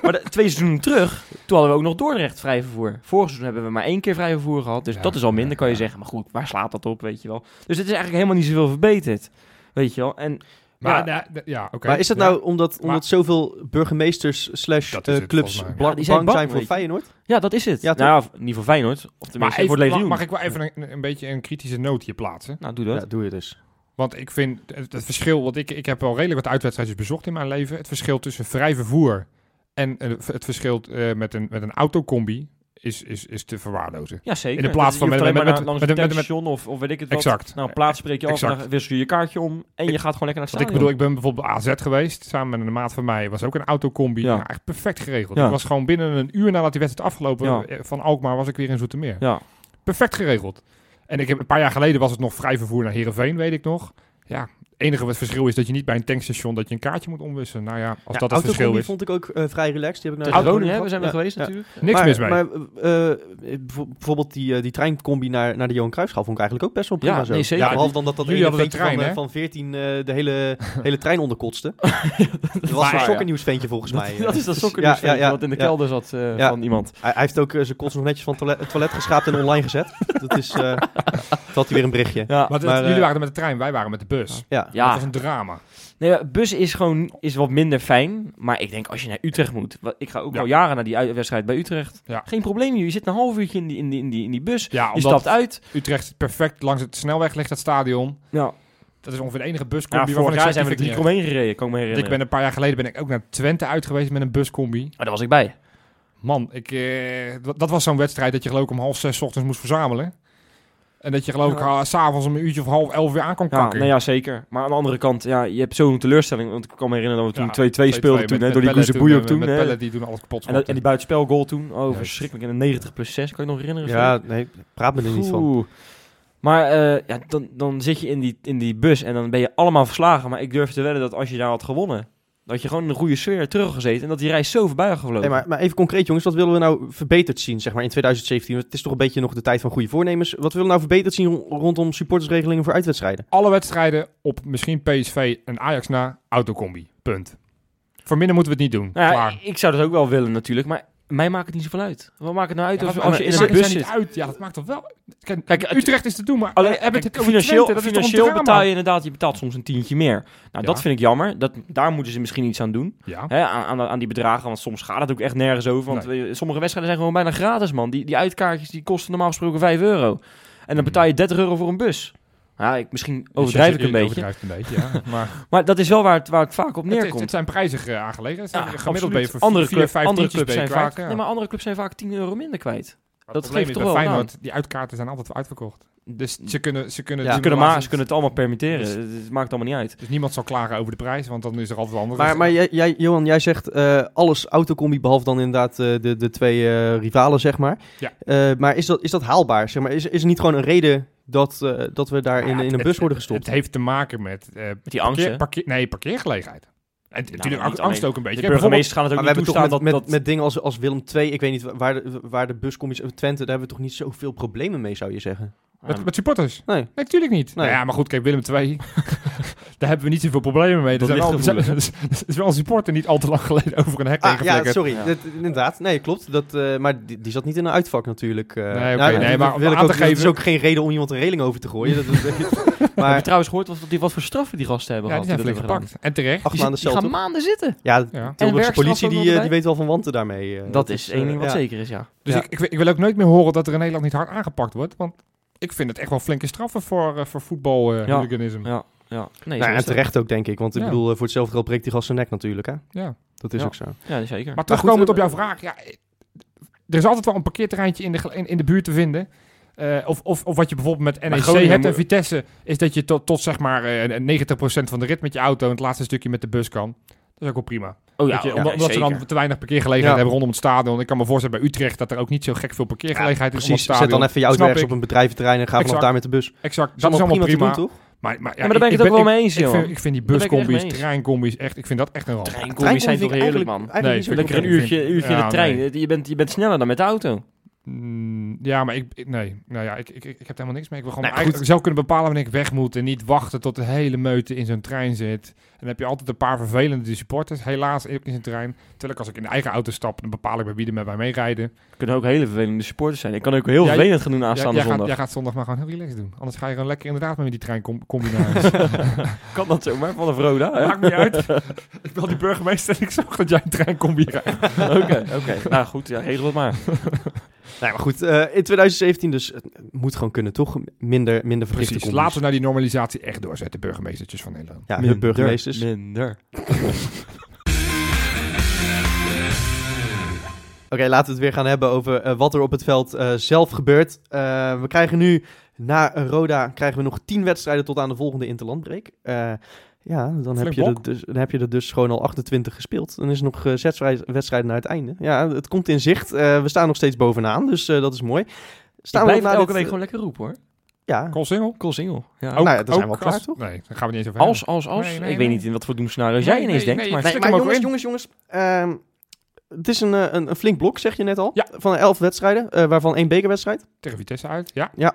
[SPEAKER 3] Maar de- twee seizoenen terug, toen hadden we ook nog Dordrecht vrij vervoer. Vorig seizoen hebben we maar één keer vrij vervoer gehad. Dus
[SPEAKER 4] Ja,
[SPEAKER 3] dat is al minder, kan je
[SPEAKER 4] ja.
[SPEAKER 3] zeggen. Maar goed, waar slaat dat op, weet je wel. Dus het is eigenlijk helemaal niet zoveel verbeterd. Weet je wel. En
[SPEAKER 4] Maar,
[SPEAKER 3] Ja.
[SPEAKER 4] nou, d- ja, oké.
[SPEAKER 2] Maar is dat
[SPEAKER 4] Ja.
[SPEAKER 2] nou omdat,
[SPEAKER 4] Maar-
[SPEAKER 2] omdat zoveel burgemeesters slash
[SPEAKER 4] Dat is
[SPEAKER 2] eh,
[SPEAKER 4] het,
[SPEAKER 2] clubs
[SPEAKER 4] volgens mij.
[SPEAKER 2] bla-
[SPEAKER 3] Ja, die zijn
[SPEAKER 2] bang,
[SPEAKER 3] bang,
[SPEAKER 2] zijn voor
[SPEAKER 3] weet je.
[SPEAKER 2] Feyenoord?
[SPEAKER 3] ja, dat is het.
[SPEAKER 2] Ja,
[SPEAKER 3] nou, ja, niet voor Feyenoord. Of tenminste,
[SPEAKER 4] maar even,
[SPEAKER 3] voor het
[SPEAKER 4] mag,
[SPEAKER 3] legioen.
[SPEAKER 4] mag ik wel even een, een beetje een kritische noot hier plaatsen?
[SPEAKER 3] Nou, doe dat.
[SPEAKER 2] doe je dus.
[SPEAKER 4] Want ik vind het, het verschil, want ik, ik heb wel redelijk wat uitwedstrijdjes bezocht in mijn leven. Het verschil tussen vrij vervoer en eh, het verschil eh, met, een, met een autocombi is, is, is te verwaarlozen.
[SPEAKER 3] Ja, zeker.
[SPEAKER 4] In de plaats
[SPEAKER 3] Je
[SPEAKER 4] van
[SPEAKER 3] hoeft
[SPEAKER 4] met-
[SPEAKER 3] alleen
[SPEAKER 4] met-
[SPEAKER 3] maar
[SPEAKER 4] met-
[SPEAKER 3] langs
[SPEAKER 4] met-
[SPEAKER 3] een
[SPEAKER 4] met- met-
[SPEAKER 3] tankstation of, of weet ik het wat.
[SPEAKER 4] Exact.
[SPEAKER 3] Nou, een plaats spreek je af,
[SPEAKER 4] Exact.
[SPEAKER 3] dan wissel je je kaartje om en je
[SPEAKER 4] Ik-
[SPEAKER 3] gaat gewoon lekker naar het
[SPEAKER 4] Want ik
[SPEAKER 3] stadion.
[SPEAKER 4] bedoel, ik ben bijvoorbeeld bij AZ geweest. Samen met een maat van mij was ook een autocombi.
[SPEAKER 3] Ja.
[SPEAKER 4] Ja. echt perfect geregeld.
[SPEAKER 3] Ja.
[SPEAKER 4] Ik was gewoon binnen een uur nadat die wedstrijd afgelopen
[SPEAKER 3] Ja.
[SPEAKER 4] eh, van Alkmaar was ik weer in Zoetermeer.
[SPEAKER 3] Ja.
[SPEAKER 4] Perfect geregeld. En ik heb, een paar jaar geleden was het nog vrij vervoer naar Heerenveen, weet ik nog. Ja, het enige wat verschil is dat je niet bij een tankstation dat je een kaartje moet omwisselen. Nou ja, als dat het verschil is.
[SPEAKER 2] vond ik ook eh, vrij relaxed. Die heb ik
[SPEAKER 3] Tegen
[SPEAKER 2] naar
[SPEAKER 3] Groningen hè, we zijn we
[SPEAKER 2] Ja,
[SPEAKER 3] geweest
[SPEAKER 2] ja.
[SPEAKER 3] natuurlijk.
[SPEAKER 4] Niks
[SPEAKER 2] maar,
[SPEAKER 4] mis mee.
[SPEAKER 2] Maar eh, eh, bijvo- bijvoorbeeld die, eh, die treincombi naar, naar de Johan Cruijffschaal vond ik eigenlijk ook best wel prima
[SPEAKER 3] Ja,
[SPEAKER 2] zo.
[SPEAKER 3] nee, zeker.
[SPEAKER 2] Ja, behalve dan dat dat
[SPEAKER 4] Jullie
[SPEAKER 2] ene
[SPEAKER 4] hadden een
[SPEAKER 2] ventje van,
[SPEAKER 4] trein,
[SPEAKER 2] eh, van 14 eh, de hele, hele trein onderkotste. dat
[SPEAKER 3] waar,
[SPEAKER 2] was een
[SPEAKER 3] ja.
[SPEAKER 2] sokkennieuws ventje volgens mij.
[SPEAKER 3] Dat is dat
[SPEAKER 2] Ja,
[SPEAKER 3] sokkernieuws
[SPEAKER 2] ja, ja,
[SPEAKER 3] wat in de
[SPEAKER 2] ja.
[SPEAKER 3] kelder zat eh,
[SPEAKER 2] Ja.
[SPEAKER 3] van iemand.
[SPEAKER 2] Hij, hij heeft ook eh, zijn kots nog netjes van het toilet, het toilet geschraapt en online gezet. Dat is, eh toen had hij weer een berichtje.
[SPEAKER 3] Ja.
[SPEAKER 4] Maar dat-
[SPEAKER 2] maar, eh,
[SPEAKER 4] jullie waren met de trein, wij waren met de bus.
[SPEAKER 2] Ja.
[SPEAKER 4] Dat
[SPEAKER 3] Ja,
[SPEAKER 4] was een drama.
[SPEAKER 3] nee, ja, bus is gewoon is wat minder fijn. Maar ik denk als je naar Utrecht moet. wa- Ik ga ook
[SPEAKER 4] Ja.
[SPEAKER 3] al jaren naar die uit- wedstrijd bij Utrecht.
[SPEAKER 4] Ja.
[SPEAKER 3] Geen probleem, je zit een half uurtje in die, in die, in die, in die bus.
[SPEAKER 4] Ja,
[SPEAKER 3] Je
[SPEAKER 4] omdat
[SPEAKER 3] stapt uit.
[SPEAKER 4] Utrecht perfect langs het snelweg ligt dat stadion.
[SPEAKER 3] Ja,
[SPEAKER 4] Dat is ongeveer de enige
[SPEAKER 3] ja
[SPEAKER 4] buscombi waarvan
[SPEAKER 3] vorig
[SPEAKER 4] ik
[SPEAKER 3] jaar
[SPEAKER 4] zeg,
[SPEAKER 3] zijn we
[SPEAKER 4] die vind
[SPEAKER 3] er drie
[SPEAKER 4] ik
[SPEAKER 3] keer
[SPEAKER 4] niet
[SPEAKER 3] omheen gereden, kan ik me
[SPEAKER 4] erg. Ik
[SPEAKER 3] herinneren.
[SPEAKER 4] ben een paar jaar geleden ben ik ook naar Twente uit geweest met een buscombi.
[SPEAKER 3] Maar daar was ik bij.
[SPEAKER 4] Man, ik, eh, dat dat was zo'n wedstrijd dat je geloof ik om half zes 's ochtends moest verzamelen. En dat je geloof ik
[SPEAKER 3] Ja.
[SPEAKER 4] ah, s s'avonds om een uurtje of half elf weer aan kon
[SPEAKER 3] Ja,
[SPEAKER 4] kakken.
[SPEAKER 3] nou ja, zeker. Maar aan de andere kant, ja, je hebt zo'n teleurstelling. Want ik kan me herinneren dat we
[SPEAKER 4] Ja,
[SPEAKER 3] toen 2-2 speelden toen,
[SPEAKER 4] met-
[SPEAKER 3] hè, door
[SPEAKER 4] met
[SPEAKER 3] die
[SPEAKER 4] Pellet
[SPEAKER 3] Guzebuy ook
[SPEAKER 4] eh,
[SPEAKER 3] toen.
[SPEAKER 4] Met
[SPEAKER 3] hè.
[SPEAKER 4] Pellet die toen alles kapot
[SPEAKER 3] En, dat,
[SPEAKER 4] schoot.
[SPEAKER 3] en die buitenspelgoal toen, oh
[SPEAKER 4] Juist.
[SPEAKER 3] verschrikkelijk. En een 90 plus 6, kan je nog herinneren?
[SPEAKER 2] Ja, nee, praat me er niet van.
[SPEAKER 3] Oeh. Maar eh, ja, dan, dan zit je in die, in die bus en dan ben je allemaal verslagen. Maar ik durf te wedden dat als je daar had gewonnen, dat je gewoon in een goede sfeer terug had gezeten. En dat die reis zo voorbij had gevlogen.
[SPEAKER 2] Nee, maar, maar even concreet, jongens, wat willen we nou verbeterd zien zeg maar, in 2017? Want Het is toch een beetje nog de tijd van goede voornemens. Wat willen we nou verbeterd zien ro- rondom supportersregelingen voor uitwedstrijden?
[SPEAKER 4] Alle wedstrijden op misschien PSV en Ajax na, autocombi. Punt. Voor minder moeten we het niet doen.
[SPEAKER 3] Nou ja,
[SPEAKER 4] Klaar.
[SPEAKER 3] ik- ik zou dat ook wel willen natuurlijk, maar mij maakt het niet zoveel uit. Wat maakt het nou uit
[SPEAKER 4] Ja,
[SPEAKER 3] of,
[SPEAKER 4] maar-
[SPEAKER 3] als je in
[SPEAKER 4] maar
[SPEAKER 3] een
[SPEAKER 4] maakt
[SPEAKER 3] bus
[SPEAKER 4] het
[SPEAKER 3] zit?
[SPEAKER 4] niet uit. Ja, dat maakt toch wel... Kijk,
[SPEAKER 3] Kijk, het-
[SPEAKER 4] Utrecht is te doen, maar
[SPEAKER 3] Alleen,
[SPEAKER 4] eh, hebben
[SPEAKER 3] kijk,
[SPEAKER 4] we het over
[SPEAKER 3] financieel,
[SPEAKER 4] Twente, dat is toch
[SPEAKER 3] financieel
[SPEAKER 4] een drama?
[SPEAKER 3] betaal je inderdaad, je betaalt soms een tientje meer. Nou, dat
[SPEAKER 4] Ja.
[SPEAKER 3] vind ik jammer. Dat, daar moeten ze misschien iets aan doen.
[SPEAKER 4] Ja.
[SPEAKER 3] Hè, aan, aan, aan die bedragen, want soms gaat het ook echt nergens over. Want eh, sommige wedstrijden zijn gewoon bijna gratis, man. Die, die uitkaartjes die kosten normaal gesproken 5 euro. En
[SPEAKER 4] Hmm.
[SPEAKER 3] dan betaal je 30 euro voor een bus. Ja, ik, misschien overdrijf ik een beetje.
[SPEAKER 4] Overdrijf ik een beetje, ja. Maar
[SPEAKER 3] Maar dat is wel waar het, waar het vaak op
[SPEAKER 4] het, is-
[SPEAKER 3] neerkomt.
[SPEAKER 4] het zijn prijzig eh, aangelegen. Het
[SPEAKER 3] Ja,
[SPEAKER 4] zijn gemiddeld
[SPEAKER 3] absoluut.
[SPEAKER 4] ben je voor
[SPEAKER 3] andere,
[SPEAKER 4] vier,
[SPEAKER 3] club-
[SPEAKER 4] vijf
[SPEAKER 3] andere
[SPEAKER 4] tientjes
[SPEAKER 3] clubs zijn
[SPEAKER 4] ben je
[SPEAKER 3] vaak,
[SPEAKER 4] kwijt, ja.
[SPEAKER 3] nee, maar andere clubs zijn vaak 10 euro minder kwijt.
[SPEAKER 4] Maar
[SPEAKER 3] dat
[SPEAKER 4] het probleem
[SPEAKER 3] geeft
[SPEAKER 4] is
[SPEAKER 3] toch
[SPEAKER 4] bij
[SPEAKER 3] wel
[SPEAKER 4] Feyenoord, die uitkaarten zijn altijd uitverkocht. Dus ze kunnen... Ze kunnen,
[SPEAKER 2] Ja,
[SPEAKER 4] doen
[SPEAKER 3] ze, kunnen
[SPEAKER 4] normaal
[SPEAKER 3] maar, ze kunnen het allemaal permitteren.
[SPEAKER 4] Dus-
[SPEAKER 3] het, het maakt allemaal niet uit.
[SPEAKER 4] Dus niemand zal klagen over de prijs, want dan is er altijd andere.
[SPEAKER 2] Maar, maar jij, jij, Johan, jij zegt eh, alles autocombi, behalve dan inderdaad eh, de, de twee eh, rivalen, zeg maar.
[SPEAKER 4] Ja.
[SPEAKER 2] Eh, maar is dat, is dat haalbaar? Zeg maar? is, is er niet gewoon een reden dat, eh, dat we daar in, in een bus worden gestopt?
[SPEAKER 4] Het heeft te maken met... eh,
[SPEAKER 3] Met die
[SPEAKER 4] parkeer-
[SPEAKER 3] angsten.
[SPEAKER 4] parkeer- nee, parkeergelegenheid. En t- natuurlijk
[SPEAKER 3] Nou, niet
[SPEAKER 4] angst- angst
[SPEAKER 3] alleen.
[SPEAKER 4] ook een beetje.
[SPEAKER 3] De
[SPEAKER 4] Kijk, bijvoorbeeld-
[SPEAKER 3] burgemeesters gaan het ook
[SPEAKER 2] maar we
[SPEAKER 3] niet
[SPEAKER 2] hebben
[SPEAKER 3] toestaan
[SPEAKER 2] toch met,
[SPEAKER 3] dat...
[SPEAKER 2] met,
[SPEAKER 3] dat
[SPEAKER 2] met dingen als, als Willem II, ik weet niet waar de, waar de buscombi's, Twente, daar hebben we toch niet zoveel problemen mee, zou je zeggen?
[SPEAKER 4] Met, met supporters?
[SPEAKER 2] Nee.
[SPEAKER 4] Nee, natuurlijk niet.
[SPEAKER 2] Nee.
[SPEAKER 4] Nou ja, maar goed, kijk, Willem II, daar hebben we niet zoveel problemen mee. Er
[SPEAKER 3] Dat
[SPEAKER 4] zijn wel, er zijn,
[SPEAKER 3] lichtgevoelig.
[SPEAKER 4] er is wel een supporter niet al te lang geleden over een hek heen
[SPEAKER 2] Ah, ja,
[SPEAKER 4] geflikkerd.
[SPEAKER 2] sorry.
[SPEAKER 3] Ja.
[SPEAKER 2] Dat- inderdaad. Nee, klopt. Dat, eh, maar die, die zat niet in een uitvak natuurlijk. eh.
[SPEAKER 4] Nee, oké.
[SPEAKER 2] dat-
[SPEAKER 4] Nee,
[SPEAKER 2] dat
[SPEAKER 4] maar om
[SPEAKER 2] wil ik
[SPEAKER 4] aan
[SPEAKER 2] ook,
[SPEAKER 4] te
[SPEAKER 2] dat is
[SPEAKER 4] geven-
[SPEAKER 2] ook geen reden om iemand een reling over te gooien. Dat, dat-
[SPEAKER 3] Heb je
[SPEAKER 2] maar
[SPEAKER 3] trouwens gehoord wat, die- wat voor straffen die gasten hebben
[SPEAKER 4] Ja, die
[SPEAKER 3] gehad?
[SPEAKER 4] zijn flink
[SPEAKER 3] dat hebben
[SPEAKER 4] gepakt. En terecht.
[SPEAKER 2] acht
[SPEAKER 3] gedaan?
[SPEAKER 2] maanden
[SPEAKER 3] Die,
[SPEAKER 2] cel,
[SPEAKER 3] gaan
[SPEAKER 2] toch?
[SPEAKER 3] maanden zitten.
[SPEAKER 2] Ja, de
[SPEAKER 4] Ja.
[SPEAKER 2] Tilburgse
[SPEAKER 3] werkstraf
[SPEAKER 2] politie
[SPEAKER 3] ook
[SPEAKER 2] die,
[SPEAKER 3] nog
[SPEAKER 2] eh,
[SPEAKER 3] erbij?
[SPEAKER 2] die weet wel van wanten daarmee. eh.
[SPEAKER 3] Dat is één
[SPEAKER 2] eh,
[SPEAKER 3] ding wat
[SPEAKER 2] ja.
[SPEAKER 3] zeker is, ja.
[SPEAKER 4] Dus
[SPEAKER 2] Ja.
[SPEAKER 4] ik, ik, wil- ik wil ook nooit meer horen dat er in Nederland niet hard aangepakt wordt. Want ik vind het echt wel flinke straffen voor, eh, voor voetbal eh,
[SPEAKER 3] Ja.
[SPEAKER 4] hooliganisme.
[SPEAKER 3] Ja, ja. Nee,
[SPEAKER 2] Nou,
[SPEAKER 3] zo
[SPEAKER 2] en
[SPEAKER 3] is dat.
[SPEAKER 2] terecht ook, denk ik. Want ik
[SPEAKER 4] Ja.
[SPEAKER 2] bedoel, eh, voor hetzelfde geld breekt die gast zijn nek natuurlijk. Hè?
[SPEAKER 4] Ja.
[SPEAKER 2] Dat is
[SPEAKER 3] Ja.
[SPEAKER 2] ook zo.
[SPEAKER 3] Ja, zeker.
[SPEAKER 4] Maar
[SPEAKER 2] Maar
[SPEAKER 4] terugkomend
[SPEAKER 2] goed,
[SPEAKER 4] op
[SPEAKER 2] eh,
[SPEAKER 4] jouw vraag. Ja, eh, er is altijd wel een parkeerterreintje in de, gel- in, in de buurt te vinden. Eh, of, of, of wat je bijvoorbeeld met NEC
[SPEAKER 3] Groningen
[SPEAKER 4] hebt en
[SPEAKER 3] moet-
[SPEAKER 4] Vitesse... is dat je tot, tot zeg maar eh 90% van de rit met je auto... en het laatste stukje met de bus kan. Dat is ook wel prima.
[SPEAKER 3] oh
[SPEAKER 4] Weet je, omdat omdat ze dan te weinig parkeergelegenheid
[SPEAKER 2] Ja.
[SPEAKER 4] hebben rondom het stadion. Ik kan me voorstellen bij Utrecht... dat er ook niet zo gek veel parkeergelegenheid is
[SPEAKER 2] Precies.
[SPEAKER 4] rondom
[SPEAKER 2] Zet
[SPEAKER 4] het
[SPEAKER 2] dan
[SPEAKER 4] stadion.
[SPEAKER 2] even je auto
[SPEAKER 4] Snap
[SPEAKER 2] ergens
[SPEAKER 4] ik.
[SPEAKER 2] op een bedrijventerrein en ga vanaf
[SPEAKER 4] Exact.
[SPEAKER 2] daar met de bus.
[SPEAKER 4] Exact, dat is allemaal prima.
[SPEAKER 2] te doen, toch?
[SPEAKER 4] Maar, maar, ja,
[SPEAKER 3] maar daar ben ik het ook wel mee eens,
[SPEAKER 4] ik, ik
[SPEAKER 3] joh.
[SPEAKER 4] vind, ik vind die
[SPEAKER 3] Daar ben ik het echt mee
[SPEAKER 4] buscombi's,
[SPEAKER 3] eens.
[SPEAKER 4] treincombi's... echt, ik vind dat echt een ramp.
[SPEAKER 3] Treincombis zijn toch heerlijk, man.
[SPEAKER 4] Nee,
[SPEAKER 2] Nee,
[SPEAKER 4] vind
[SPEAKER 3] Lekker
[SPEAKER 4] ik
[SPEAKER 3] een
[SPEAKER 4] vind-
[SPEAKER 3] uurtje, uurtje in
[SPEAKER 4] Ja,
[SPEAKER 3] de trein.
[SPEAKER 4] nee.
[SPEAKER 3] Je, bent, je bent sneller dan met de auto.
[SPEAKER 4] Mm, ja, maar ik, ik- nee. Nou ja, ik, ik, ik heb er helemaal niks mee. Ik wil gewoon
[SPEAKER 3] Nou,
[SPEAKER 4] eigenlijk zelf kunnen bepalen wanneer ik weg moet. En niet wachten tot de hele meute in zo'n trein zit. En dan heb je altijd een paar vervelende supporters, helaas, ook in zo'n trein. Terwijl ik als ik in de eigen auto stap, dan bepaal ik bij wie er met mij meerijden.
[SPEAKER 3] Het kunnen ook hele vervelende supporters zijn. Ik kan ook heel
[SPEAKER 4] Ja,
[SPEAKER 3] vervelend gaan doen
[SPEAKER 4] Jij,
[SPEAKER 3] aanstaande
[SPEAKER 4] jij, gaat,
[SPEAKER 3] zondag.
[SPEAKER 4] jij gaat zondag maar gewoon heel relaxed doen. Anders ga je gewoon lekker inderdaad maar met die trein com combinaties.
[SPEAKER 3] Kan dat zomaar van een Roda? hè?
[SPEAKER 4] Maakt niet uit. ik bel die burgemeester en ik zorg dat jij een trein combi rijdt.
[SPEAKER 3] Oké, oké. Nou goed, ja, regel het maar.
[SPEAKER 2] Nee, maar goed, eh, in 2017 dus, het moet gewoon kunnen, toch? Minder, minder verplichte
[SPEAKER 4] Precies.
[SPEAKER 2] combi's.
[SPEAKER 4] Laten we nou die normalisatie echt doorzetten, burgemeestertjes van Nederland.
[SPEAKER 2] Ja, de burgemeesters.
[SPEAKER 3] Minder.
[SPEAKER 2] Oké, laten we het weer gaan hebben over eh, wat er op het veld eh, zelf gebeurt. Eh, we krijgen nu, na Roda, krijgen we nog tien wedstrijden tot aan de volgende Interlandbreak. Eh, ja, dan heb,
[SPEAKER 4] Flink
[SPEAKER 2] je
[SPEAKER 4] blok.
[SPEAKER 2] er dus, dan heb je er dus gewoon al 28 gespeeld. Dan is er nog eh, zes rij- wedstrijden naar het einde. Ja, het komt in zicht. Eh, we staan nog steeds bovenaan, dus eh, dat is mooi.
[SPEAKER 3] Ik
[SPEAKER 2] Staan
[SPEAKER 3] blijf
[SPEAKER 2] na
[SPEAKER 3] het elke
[SPEAKER 2] dit- eh,
[SPEAKER 3] week gewoon lekker roepen hoor.
[SPEAKER 2] Ja,
[SPEAKER 4] Koolsingel?
[SPEAKER 3] Cool single. Ja.
[SPEAKER 2] Nou ja, dan zijn we al klaar,
[SPEAKER 4] als-
[SPEAKER 2] toch?
[SPEAKER 4] Nee, daar gaan we niet eens over
[SPEAKER 3] Als, als, als.
[SPEAKER 4] Nee, nee,
[SPEAKER 3] ik weet
[SPEAKER 4] nee.
[SPEAKER 3] niet in wat voor doemscenario
[SPEAKER 4] Nee,
[SPEAKER 3] jij
[SPEAKER 4] nee,
[SPEAKER 3] ineens denkt,
[SPEAKER 4] nee,
[SPEAKER 3] maar
[SPEAKER 4] het
[SPEAKER 2] Nee, maar
[SPEAKER 4] Slik hem ook
[SPEAKER 2] jongens, jongens, jongens, Ehm, het is een, eh, een, een flink blok, zeg je net al.
[SPEAKER 4] Ja.
[SPEAKER 2] Van elf wedstrijden, eh, waarvan één bekerwedstrijd.
[SPEAKER 4] Tegen Vitesse uit. Ja,
[SPEAKER 3] is niet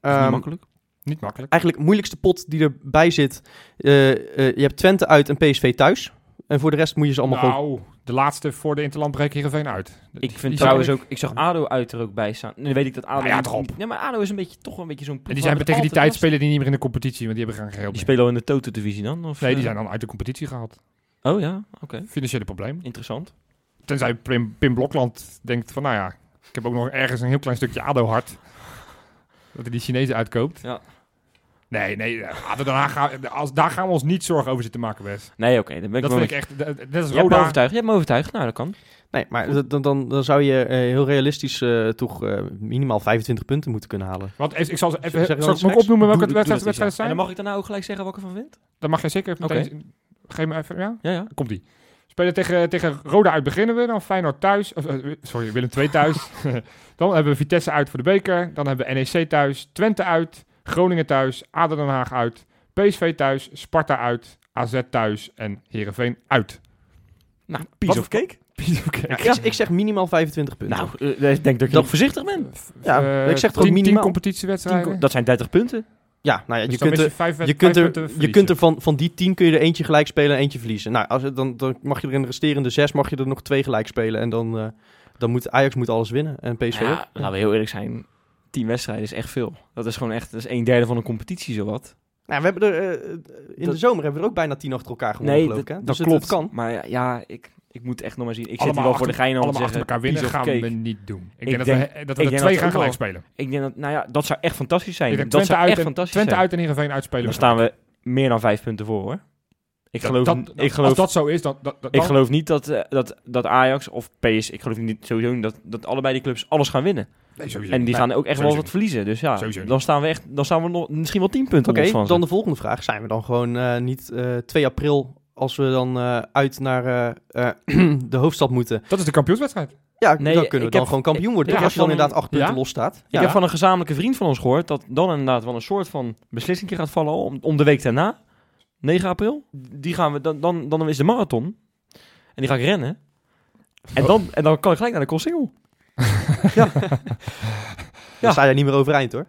[SPEAKER 2] Ehm,
[SPEAKER 3] makkelijk.
[SPEAKER 4] niet makkelijk.
[SPEAKER 2] eigenlijk moeilijkste pot die erbij zit. eh, eh, je hebt Twente uit en PSV thuis. En voor de rest moet je ze allemaal gewoon...
[SPEAKER 4] nou, de laatste voor de Interlandbreek Heerenveen uit.
[SPEAKER 3] Ik
[SPEAKER 4] Die
[SPEAKER 3] vind trouwens
[SPEAKER 4] zijn-
[SPEAKER 3] ook, ik zag ADO uit er ook bij staan. Nu weet ik dat ADO...
[SPEAKER 4] Nou ja,
[SPEAKER 3] niet-
[SPEAKER 4] erop.
[SPEAKER 3] Nee, maar ADO is een beetje, toch wel een beetje zo'n...
[SPEAKER 4] En
[SPEAKER 3] ploeg
[SPEAKER 4] die zijn
[SPEAKER 3] waar
[SPEAKER 4] tegen die
[SPEAKER 3] het altijd
[SPEAKER 4] tijd spelen die niet meer in de competitie, want die hebben geen geheel
[SPEAKER 3] was. Die
[SPEAKER 4] meer.
[SPEAKER 3] spelen al in de Toto-divisie dan? Of,
[SPEAKER 4] Nee, die
[SPEAKER 3] eh,
[SPEAKER 4] zijn dan uit de competitie gehaald.
[SPEAKER 3] Oh ja, oké.
[SPEAKER 4] Financiële problemen.
[SPEAKER 3] Interessant.
[SPEAKER 4] Tenzij Pim, Pim Blokland denkt van, nou ja, ik heb ook nog ergens een heel klein stukje ADO-hart. Dat hij die Chinezen uitkoopt.
[SPEAKER 3] Ja.
[SPEAKER 4] Nee, nee, eh, ADO Den Haag, gaan- als, daar gaan we ons niet zorgen over zitten maken, Wes.
[SPEAKER 3] Nee, oké. dan ben ik
[SPEAKER 4] Dat
[SPEAKER 3] wel
[SPEAKER 4] vind
[SPEAKER 3] met
[SPEAKER 4] ik echt, dat dat is
[SPEAKER 3] Je hebt me
[SPEAKER 4] Roda.
[SPEAKER 3] overtuigd. Je hebt me overtuigd. Nou, dat kan.
[SPEAKER 2] Nee, maar dat- dan, dan, dan zou je eh, heel realistisch eh, toch eh, minimaal 25 punten moeten kunnen halen.
[SPEAKER 4] Want even- ik zal ze
[SPEAKER 2] Zeg- zeg
[SPEAKER 4] even, zal
[SPEAKER 2] wel
[SPEAKER 4] ik
[SPEAKER 2] iets
[SPEAKER 4] me ook opnoemen welke
[SPEAKER 3] Doe- doe dat
[SPEAKER 4] wedstrijd-
[SPEAKER 3] eens,
[SPEAKER 4] wedstrijden
[SPEAKER 3] ja. En
[SPEAKER 4] zijn?
[SPEAKER 3] dan mag ik daarna ook gelijk zeggen wat ik ervan vind?
[SPEAKER 4] Dan mag jij zeker
[SPEAKER 3] Oké.
[SPEAKER 4] meteen... Geef me even... Ja,
[SPEAKER 3] Ja, ja.
[SPEAKER 4] komt ie. Spelen tegen, tegen Roda uit beginnen we. Dan Feyenoord thuis. Of, eh, sorry, Willem 2 thuis. dan hebben we Vitesse uit voor de beker. Dan hebben we NEC thuis. Twente uit. Groningen thuis. ADO Den Haag uit. PSV thuis. Sparta uit. AZ thuis. En Heerenveen uit.
[SPEAKER 3] Nou,
[SPEAKER 4] piece
[SPEAKER 3] of cake?
[SPEAKER 4] Piece of cake.
[SPEAKER 2] Ja, Ik, ik zeg minimaal 25 punten.
[SPEAKER 3] Nou, eh, ik denk dat ik
[SPEAKER 2] Dat-
[SPEAKER 3] nog voorzichtig ben.
[SPEAKER 2] ja,
[SPEAKER 4] Eh,
[SPEAKER 2] ik zeg toch
[SPEAKER 4] tien, tien
[SPEAKER 2] minimaal.
[SPEAKER 4] competitiewedstrijden.
[SPEAKER 3] Dat zijn 30 punten.
[SPEAKER 2] ja, nou ja,
[SPEAKER 4] Dus
[SPEAKER 2] je
[SPEAKER 4] dan
[SPEAKER 2] kunt
[SPEAKER 4] mis je
[SPEAKER 2] er...
[SPEAKER 4] vijf wed-
[SPEAKER 2] Je kunt
[SPEAKER 4] vijf
[SPEAKER 2] er,
[SPEAKER 4] punten
[SPEAKER 2] je kunt er van,
[SPEAKER 4] verliezen.
[SPEAKER 2] van die 10 kun je er eentje gelijk spelen en eentje verliezen. Nou, als, het- dan, dan mag je er in de resterende zes mag je er nog twee gelijk spelen. En dan, eh, dan moet Ajax moet alles winnen. En PSV
[SPEAKER 3] Nou
[SPEAKER 2] ook.
[SPEAKER 3] ja, laten we heel eerlijk zijn. 10 wedstrijden is echt veel. Dat is gewoon echt dat is een derde van een competitie, zowat.
[SPEAKER 2] Nou, we hebben er, eh, in de
[SPEAKER 3] Dat-
[SPEAKER 2] zomer hebben we er ook bijna 10 achter elkaar gewonnen, geloof ik. Hè? Dus het- het kan.
[SPEAKER 3] Maar ja, ja, ik, ik moet echt nog maar zien. Ik zit
[SPEAKER 4] Allemaal
[SPEAKER 3] hier wel voor de
[SPEAKER 4] achter-
[SPEAKER 3] gein aan om te
[SPEAKER 4] Allemaal achter
[SPEAKER 3] zeggen.
[SPEAKER 4] elkaar winnen
[SPEAKER 3] piece of
[SPEAKER 4] gaan we
[SPEAKER 3] cake.
[SPEAKER 4] niet doen. Ik,
[SPEAKER 3] Ik
[SPEAKER 4] denk,
[SPEAKER 3] denk-
[SPEAKER 4] dat we, dat we
[SPEAKER 3] ik
[SPEAKER 4] er
[SPEAKER 3] denk
[SPEAKER 4] twee
[SPEAKER 3] dat
[SPEAKER 4] gaan
[SPEAKER 3] ook wel.
[SPEAKER 4] gelijk spelen.
[SPEAKER 3] Ik denk dat, nou ja, dat zou echt fantastisch
[SPEAKER 4] Ik
[SPEAKER 3] zijn.
[SPEAKER 4] denk
[SPEAKER 3] Dat
[SPEAKER 4] Twente
[SPEAKER 3] zou
[SPEAKER 4] uit
[SPEAKER 3] echt
[SPEAKER 4] en-
[SPEAKER 3] fantastisch
[SPEAKER 4] Twente
[SPEAKER 3] zijn.
[SPEAKER 4] uit en Heerenveen uitspelen.
[SPEAKER 3] Dan
[SPEAKER 4] we.
[SPEAKER 3] staan we meer dan 5 punten voor, hoor. Ik geloof,
[SPEAKER 4] dat,
[SPEAKER 3] ik
[SPEAKER 4] dat-
[SPEAKER 3] geloof
[SPEAKER 4] als dat zo is, dan, dat, dat,
[SPEAKER 3] Ik
[SPEAKER 4] dan-
[SPEAKER 3] geloof niet dat, eh, dat, dat Ajax of PS, ik geloof niet sowieso niet dat, dat allebei die clubs alles gaan winnen.
[SPEAKER 4] Nee, sowieso
[SPEAKER 3] en die
[SPEAKER 4] niet.
[SPEAKER 3] gaan ook echt wel
[SPEAKER 4] sowieso
[SPEAKER 3] wat verliezen. Dus ja,
[SPEAKER 4] Sowieso niet.
[SPEAKER 3] dan staan we echt, dan staan we nog, misschien wel 10 punten
[SPEAKER 2] Oké,
[SPEAKER 3] los van ze.
[SPEAKER 2] dan de volgende vraag. Zijn we dan gewoon eh, niet eh, 2 april, als we dan eh, uit naar eh, eh, de hoofdstad moeten?
[SPEAKER 4] Dat is de kampioenswedstrijd.
[SPEAKER 2] Ja,
[SPEAKER 3] Nee,
[SPEAKER 2] dan kunnen we
[SPEAKER 3] ik
[SPEAKER 2] dan
[SPEAKER 3] heb-
[SPEAKER 2] gewoon kampioen worden. toch?
[SPEAKER 3] ik- ja,
[SPEAKER 2] als je dan
[SPEAKER 3] van-
[SPEAKER 2] inderdaad 8 punten
[SPEAKER 4] ja.
[SPEAKER 2] los staat.
[SPEAKER 3] Ik heb van een gezamenlijke vriend van ons gehoord dat dan inderdaad wel een soort van beslissing gaat vallen om, om de week daarna, 9 april. Die gaan we, dan, dan, dan is de marathon en die ga ik rennen. En dan, en dan kan ik gelijk naar de Colsingel.
[SPEAKER 2] Dan sta je niet meer overeind hoor.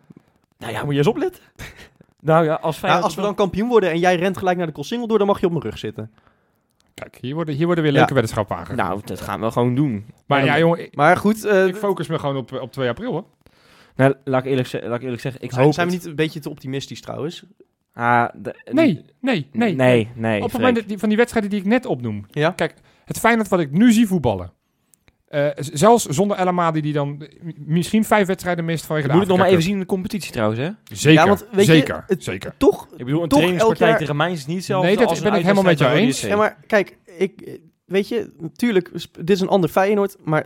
[SPEAKER 3] Nou ja, moet je eens opletten. Nou ja, als
[SPEAKER 2] Nou,
[SPEAKER 3] Feyenoord...
[SPEAKER 2] als we dan kampioen worden en jij rent gelijk naar de Koolsingel door, dan mag je op mijn rug zitten.
[SPEAKER 4] Kijk, hier worden, hier worden weer
[SPEAKER 2] Ja.
[SPEAKER 4] leuke weddenschappen aangegeven.
[SPEAKER 3] Nou, dat gaan we gewoon doen.
[SPEAKER 4] maar ja, jongen, ik,
[SPEAKER 2] Maar goed, eh,
[SPEAKER 4] ik focus me gewoon op, eh, op 2 april, hoor.
[SPEAKER 3] Nou, laat ik eerlijk, ze- laat ik eerlijk zeggen, ik
[SPEAKER 2] zijn,
[SPEAKER 3] hoop
[SPEAKER 2] zijn we
[SPEAKER 3] het.
[SPEAKER 2] niet een beetje te optimistisch trouwens?
[SPEAKER 3] Ah, de-
[SPEAKER 4] Nee, nee, nee.
[SPEAKER 3] Nee, nee. nee
[SPEAKER 4] op het
[SPEAKER 3] Freek.
[SPEAKER 4] moment dat die- van die wedstrijden die ik net opnoem.
[SPEAKER 2] Ja.
[SPEAKER 4] Kijk, het Feyenoord wat ik nu zie voetballen. eh, z- zelfs zonder El Amadi die dan eh, m- misschien vijf wedstrijden mist vanwege
[SPEAKER 3] Ik
[SPEAKER 4] de
[SPEAKER 3] moet het nog maar even
[SPEAKER 4] Afrika
[SPEAKER 3] zien in de competitie trouwens, hè? Ik
[SPEAKER 4] Cup. Zeker,
[SPEAKER 2] Ja, want weet je,
[SPEAKER 4] zeker,
[SPEAKER 2] het-
[SPEAKER 4] zeker.
[SPEAKER 2] Toch?
[SPEAKER 3] bedoel, een
[SPEAKER 2] Toch
[SPEAKER 3] trainingspartij
[SPEAKER 2] elk jaar-
[SPEAKER 3] tegen mij is niet hetzelfde
[SPEAKER 4] Nee, dat
[SPEAKER 3] als een
[SPEAKER 4] ben ik helemaal met jou
[SPEAKER 3] uitwedstrijd
[SPEAKER 2] Ja, maar kijk, ik, weet je, natuurlijk, sp- dit is een ander Feyenoord, maar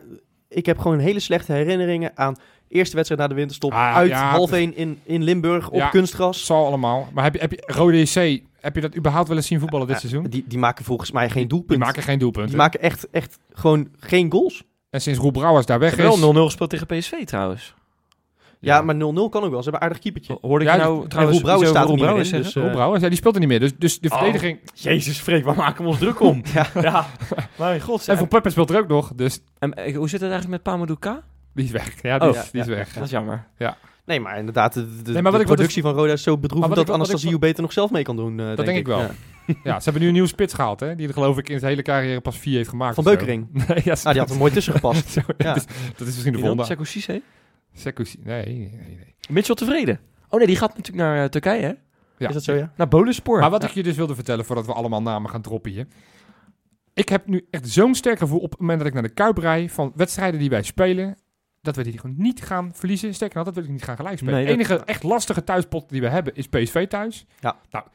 [SPEAKER 2] ik heb gewoon hele slechte herinneringen aan eerste wedstrijd na de winterstop.
[SPEAKER 4] Ah,
[SPEAKER 2] uit
[SPEAKER 4] ja,
[SPEAKER 2] half
[SPEAKER 4] het-
[SPEAKER 2] één in, in Limburg op
[SPEAKER 4] Ja. Het
[SPEAKER 2] kunstgras.
[SPEAKER 4] zal allemaal. Maar heb je, heb je Rode JC, heb je dat überhaupt wel eens zien voetballen dit
[SPEAKER 2] Ja,
[SPEAKER 4] seizoen?
[SPEAKER 2] Die, die maken volgens mij geen doelpunt.
[SPEAKER 4] Die maken geen doelpunten.
[SPEAKER 2] Die maken echt, echt gewoon geen goals.
[SPEAKER 4] En sinds Roel Brouwers daar weg
[SPEAKER 3] Ik
[SPEAKER 4] is...
[SPEAKER 3] heb wel 0-0 gespeeld tegen PSV trouwens.
[SPEAKER 2] Ja, maar 0-0 kan ook wel. Ze hebben een aardig keepertje.
[SPEAKER 3] Hoorde ik
[SPEAKER 4] Ja,
[SPEAKER 3] nou
[SPEAKER 4] en Roel
[SPEAKER 3] trouwens
[SPEAKER 2] Brouwer
[SPEAKER 3] iets
[SPEAKER 2] staat er
[SPEAKER 3] over Roel
[SPEAKER 2] niet meer
[SPEAKER 3] Brouwer
[SPEAKER 2] in,
[SPEAKER 3] zeggen?
[SPEAKER 2] dus,
[SPEAKER 4] Roel Brouwers, ja, die speelt er niet meer. Dus, dus de
[SPEAKER 3] Oh.
[SPEAKER 4] verdediging...
[SPEAKER 3] Jezus, Freek, waar maken we ons druk om? ja. ja. Mijn god.
[SPEAKER 4] En
[SPEAKER 3] En,
[SPEAKER 4] Van Peppen speelt er ook nog, dus
[SPEAKER 3] en, eh, hoe zit het eigenlijk met Pamadouka?
[SPEAKER 4] Die is weg. Ja, die,
[SPEAKER 3] Oh.
[SPEAKER 4] is, die is
[SPEAKER 2] Ja,
[SPEAKER 4] weg.
[SPEAKER 3] Dat is jammer.
[SPEAKER 2] Nee, maar inderdaad, de, de,
[SPEAKER 4] Nee, maar wat
[SPEAKER 2] de
[SPEAKER 4] ik- wat
[SPEAKER 2] productie van Roda is zo bedroevend
[SPEAKER 4] Maar
[SPEAKER 2] dat
[SPEAKER 4] wat ik- wat ik-
[SPEAKER 2] Anastasio beter nog zelf mee kan doen. eh,
[SPEAKER 4] Dat denk ik wel.
[SPEAKER 2] Ja.
[SPEAKER 4] Ja, ze hebben nu een nieuwe spits gehaald, hè? Die er geloof ik in zijn hele carrière pas vier heeft gemaakt.
[SPEAKER 2] Van
[SPEAKER 4] of zo.
[SPEAKER 2] Beukering.
[SPEAKER 4] Nee, ja,
[SPEAKER 2] Ah, die had er mooi tussen gepast.
[SPEAKER 4] Zo,
[SPEAKER 2] Ja.
[SPEAKER 4] dat, is, dat is misschien de
[SPEAKER 3] Wie dan?
[SPEAKER 4] volgende.
[SPEAKER 3] Seko Cisse?
[SPEAKER 4] Sekou- Nee, nee, nee.
[SPEAKER 3] Mitchell tevreden. Oh nee, die gaat natuurlijk naar eh, Turkije, hè?
[SPEAKER 4] Ja.
[SPEAKER 2] Is dat zo, ja?
[SPEAKER 3] Naar Boluspor.
[SPEAKER 4] Maar wat
[SPEAKER 3] Ja.
[SPEAKER 4] ik je dus wilde vertellen, voordat we allemaal namen gaan droppen hier. Ik heb nu echt zo'n sterk gevoel op het moment dat ik naar de Kuip rij van wedstrijden die wij spelen, dat we die gewoon niet gaan verliezen. Sterker nog, dat we die niet gaan gelijk spelen.
[SPEAKER 3] Nee,
[SPEAKER 4] de
[SPEAKER 3] dat-
[SPEAKER 4] enige echt lastige thuispot die we hebben is PSV thuis.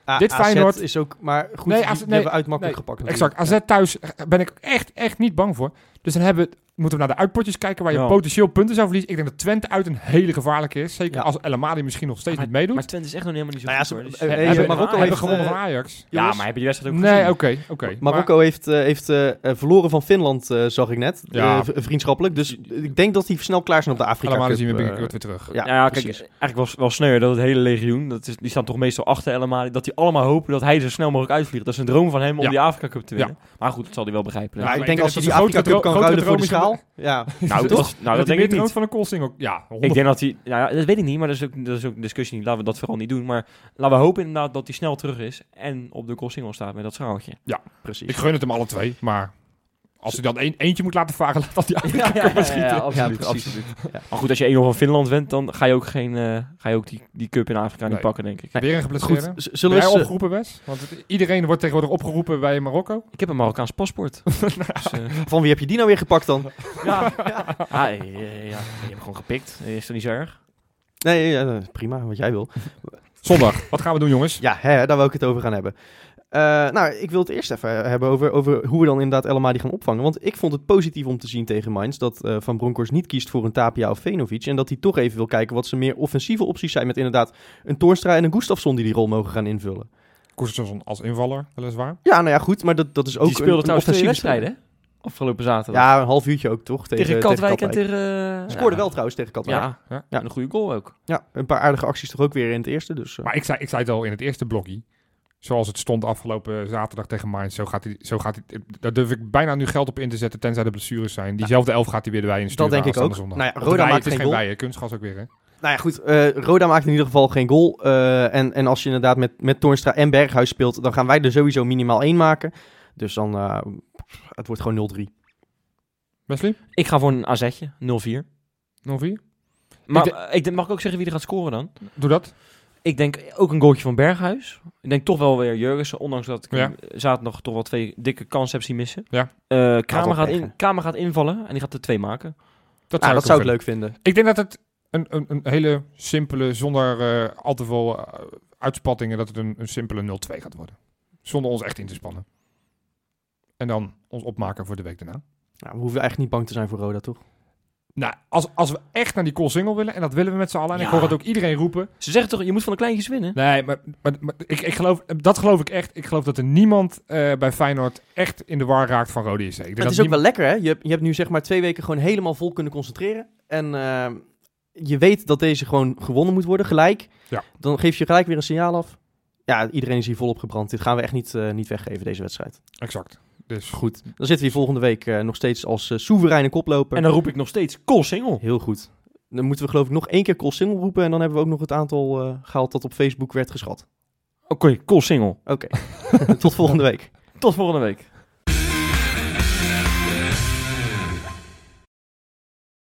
[SPEAKER 2] Ah,
[SPEAKER 4] Dit
[SPEAKER 2] AZ
[SPEAKER 4] Feyenoord-
[SPEAKER 2] is ook, maar goed,
[SPEAKER 4] Nee,
[SPEAKER 2] die-
[SPEAKER 4] AZ
[SPEAKER 2] die
[SPEAKER 4] nee,
[SPEAKER 2] hebben we uitmakkelijk
[SPEAKER 4] nee,
[SPEAKER 2] gepakt.
[SPEAKER 4] Exact. AZ thuis eh, ben ik echt, echt niet bang voor. Dus dan hebben, we- moeten we naar de uitpotjes kijken waar je
[SPEAKER 3] Ja.
[SPEAKER 4] potentieel punten zou verliezen. Ik denk dat Twente uit een hele gevaarlijke is. Zeker
[SPEAKER 2] Ja.
[SPEAKER 4] als El Amadi misschien nog steeds
[SPEAKER 3] Maar-
[SPEAKER 4] niet meedoet.
[SPEAKER 3] Maar Twente is echt nog helemaal niet zo
[SPEAKER 2] Nou ja,
[SPEAKER 3] goed,
[SPEAKER 2] ze-
[SPEAKER 3] hoor, dus-
[SPEAKER 2] eh, eh,
[SPEAKER 3] Hebben-
[SPEAKER 4] hebben-
[SPEAKER 2] Marokko
[SPEAKER 4] we
[SPEAKER 3] hebben
[SPEAKER 4] hebben
[SPEAKER 2] heeft,
[SPEAKER 3] gewonnen.
[SPEAKER 4] gewonnen
[SPEAKER 2] eh,
[SPEAKER 4] van Ajax.
[SPEAKER 3] Ja,
[SPEAKER 2] jongens.
[SPEAKER 3] maar heb je die wedstrijd ook
[SPEAKER 4] Nee,
[SPEAKER 3] gezien?
[SPEAKER 4] oké. oké. Maar-
[SPEAKER 2] Marokko heeft, eh, heeft eh, eh, verloren van Finland, eh, zag ik net.
[SPEAKER 4] Ja.
[SPEAKER 2] Eh, v- vriendschappelijk. Dus ik denk dat die snel klaar zijn op de Afrika
[SPEAKER 4] Allemaal
[SPEAKER 2] Cup,
[SPEAKER 4] zien we
[SPEAKER 2] eh,
[SPEAKER 4] binnenkort weer terug.
[SPEAKER 2] ja,
[SPEAKER 3] Ja, kijk,
[SPEAKER 2] precies.
[SPEAKER 3] eigenlijk was wel sneu dat het hele legioen, dat is, die staan toch meestal achter El Amadi, dat die allemaal hopen dat hij zo snel mogelijk uitvliegt. Dat is een droom van hem om
[SPEAKER 4] Ja,
[SPEAKER 3] die Afrika Cup te
[SPEAKER 4] ja.
[SPEAKER 3] winnen. Maar goed, dat zal hij wel begrijpen.
[SPEAKER 4] Ja,
[SPEAKER 2] Maar
[SPEAKER 4] maar
[SPEAKER 2] Nou, ik
[SPEAKER 4] ik
[SPEAKER 2] denk
[SPEAKER 4] denk
[SPEAKER 2] als je
[SPEAKER 4] dat
[SPEAKER 2] die
[SPEAKER 4] het een
[SPEAKER 2] Afrika Cup
[SPEAKER 4] grotere
[SPEAKER 2] kan
[SPEAKER 4] droom-
[SPEAKER 2] ruilen voor de
[SPEAKER 4] grotere
[SPEAKER 2] schaal. Ja,
[SPEAKER 3] nou, dat, nou, dat denk ik niet.
[SPEAKER 4] van een Kolsing ook. Ja,
[SPEAKER 3] Ik denk dat hij, nou ja, dat weet ik niet, maar dat is ook, dat is ook een discussie niet. Laten we dat vooral niet doen. Maar laten we hopen inderdaad dat hij snel terug is en op de goalsingel staat met dat schaaltje.
[SPEAKER 2] precies.
[SPEAKER 4] Ik gun het hem alle twee, maar als hij dan een, eentje moet laten varen, laat dat die Afrika Cup maar schieten.
[SPEAKER 2] absoluut, absoluut.
[SPEAKER 3] Maar goed, als je 1-0 van Finland wint, dan ga je ook, geen, eh, ga je ook die, die cup in Afrika
[SPEAKER 4] Nee.
[SPEAKER 3] niet pakken, denk ik.
[SPEAKER 4] Weer een geblesseerde.
[SPEAKER 2] Goed, z-
[SPEAKER 4] Goed. Zullen
[SPEAKER 2] zullen
[SPEAKER 4] jij
[SPEAKER 2] we... eens, eh,
[SPEAKER 4] opgeroepen, Wes? Want het- iedereen wordt tegenwoordig opgeroepen bij Marokko.
[SPEAKER 3] Ik heb een Marokkaans paspoort. Dus, eh,
[SPEAKER 2] Van wie heb je die nou weer gepakt dan?
[SPEAKER 3] Ja. ja, ja, ja. Je hebt gewoon gepikt. Is dat niet zo erg?
[SPEAKER 2] Nee, ja, eh, prima, wat jij wil.
[SPEAKER 4] Zondag. Wat gaan we doen, jongens?
[SPEAKER 2] Ja, hè, daar wil ik het over gaan hebben. Eh, nou, ik wil het eerst even hebben over, over hoe we dan inderdaad El Amadi gaan opvangen. Want ik vond het positief om te zien tegen Mainz dat eh, Van Bronckhorst niet kiest voor een Tapia of Venovic. En dat hij toch even wil kijken wat zijn meer offensieve opties zijn. Met inderdaad een Toornstra en een Gustafsson die die rol mogen gaan invullen.
[SPEAKER 4] Koesterson als invaller, weliswaar.
[SPEAKER 2] Ja, nou ja, goed, maar dat, dat is ook
[SPEAKER 3] die speelde
[SPEAKER 2] een, een
[SPEAKER 3] trouwens twee
[SPEAKER 2] offensieve
[SPEAKER 3] wedstrijden, hè? Afgelopen zaterdag.
[SPEAKER 2] Ja, een half uurtje ook toch? Tegen,
[SPEAKER 3] tegen, Katwijk en tegen... eh,
[SPEAKER 2] Ze scoorde
[SPEAKER 3] ja.
[SPEAKER 2] wel trouwens tegen Katwijk. Ja.
[SPEAKER 3] Ja. ja, en een goede goal ook.
[SPEAKER 2] een paar aardige acties toch ook weer in het eerste. Dus, eh,
[SPEAKER 4] Maar ik zei, ik zei het al in het eerste blokje. Zoals het stond afgelopen eh, zaterdag tegen Mainz. Zo gaat hij, zo gaat hij, eh, daar durf ik bijna nu geld op in te zetten, tenzij de blessures zijn. Diezelfde elf gaat hij weer erbij in
[SPEAKER 2] Nou, dat
[SPEAKER 4] sturen.
[SPEAKER 2] denk ik ook.
[SPEAKER 4] aanstaande
[SPEAKER 2] Nou
[SPEAKER 4] zondag.
[SPEAKER 2] ja,
[SPEAKER 4] Of
[SPEAKER 2] Roda
[SPEAKER 4] erbij,
[SPEAKER 2] maakt
[SPEAKER 4] het is
[SPEAKER 2] geen
[SPEAKER 4] geen
[SPEAKER 2] goal.
[SPEAKER 4] bijen, kunstgas ook weer, hè?
[SPEAKER 2] Nou ja, goed. eh, Roda maakt in ieder geval geen goal. eh, en, en als je inderdaad met, met Toornstra en Berghuis speelt, dan gaan wij er sowieso minimaal één maken. Dus dan, eh, het wordt gewoon 0-3.
[SPEAKER 4] Wesley?
[SPEAKER 3] Ik ga voor een azetje, 0-4.
[SPEAKER 4] 0-4?
[SPEAKER 3] Maar
[SPEAKER 4] Ik
[SPEAKER 3] eh, ik denk- mag ik ook zeggen wie er gaat scoren dan?
[SPEAKER 4] Doe dat.
[SPEAKER 3] Ik denk ook een goaltje van Berghuis. Ik denk toch wel weer Jurgensen, ondanks dat ik
[SPEAKER 4] Ja.
[SPEAKER 3] hem zaterdag toch wel twee dikke kansen heb zien missen.
[SPEAKER 4] Ja.
[SPEAKER 3] Eh, Kramer,
[SPEAKER 2] Aanval
[SPEAKER 3] gaat
[SPEAKER 2] tegen.
[SPEAKER 3] in, Kramer gaat invallen en die gaat er twee maken.
[SPEAKER 4] Dat
[SPEAKER 2] Nou,
[SPEAKER 4] ik
[SPEAKER 2] dat
[SPEAKER 4] ook
[SPEAKER 2] zou ik
[SPEAKER 4] willen.
[SPEAKER 2] leuk vinden.
[SPEAKER 4] Ik denk dat het een, een, een hele simpele, zonder eh, al te veel eh, uitspattingen, dat het een, een simpele 0-2 gaat worden. Zonder ons echt in te spannen. En dan ons opmaken voor de week daarna.
[SPEAKER 2] Nou, we hoeven eigenlijk niet bang te zijn voor Roda, toch?
[SPEAKER 4] Nou, als, als we echt naar die call single willen, en dat willen we met z'n allen, en ik
[SPEAKER 3] Ja.
[SPEAKER 4] hoor dat ook iedereen roepen.
[SPEAKER 3] Ze zeggen toch, je moet van de kleintjes winnen?
[SPEAKER 4] Nee, maar, maar, maar ik, ik geloof, dat geloof ik echt. Ik geloof dat er niemand eh, bij Feyenoord echt in de war raakt van Rode JC. Ik denk
[SPEAKER 2] Maar het
[SPEAKER 4] dat
[SPEAKER 2] is ook
[SPEAKER 4] niem-
[SPEAKER 2] wel lekker, hè? Je, hebt- je hebt nu zeg maar twee weken gewoon helemaal vol kunnen concentreren. En eh, je weet dat deze gewoon gewonnen moet worden, gelijk.
[SPEAKER 4] Ja.
[SPEAKER 2] Dan geef je gelijk weer een signaal af. Ja, iedereen is hier volop gebrand. Dit gaan we echt niet, eh, niet weggeven, deze wedstrijd.
[SPEAKER 4] Exact. Dus
[SPEAKER 2] Goed. Dan zitten we hier volgende week eh, nog steeds als eh, soevereine koploper.
[SPEAKER 3] En dan roep ik nog steeds, call single.
[SPEAKER 2] Heel goed. Dan moeten we geloof ik nog één keer call single roepen. En dan hebben we ook nog het aantal eh, gehaald dat op Facebook werd geschat.
[SPEAKER 3] Oké, call single.
[SPEAKER 2] Oké. Tot volgende week.
[SPEAKER 3] Tot volgende week.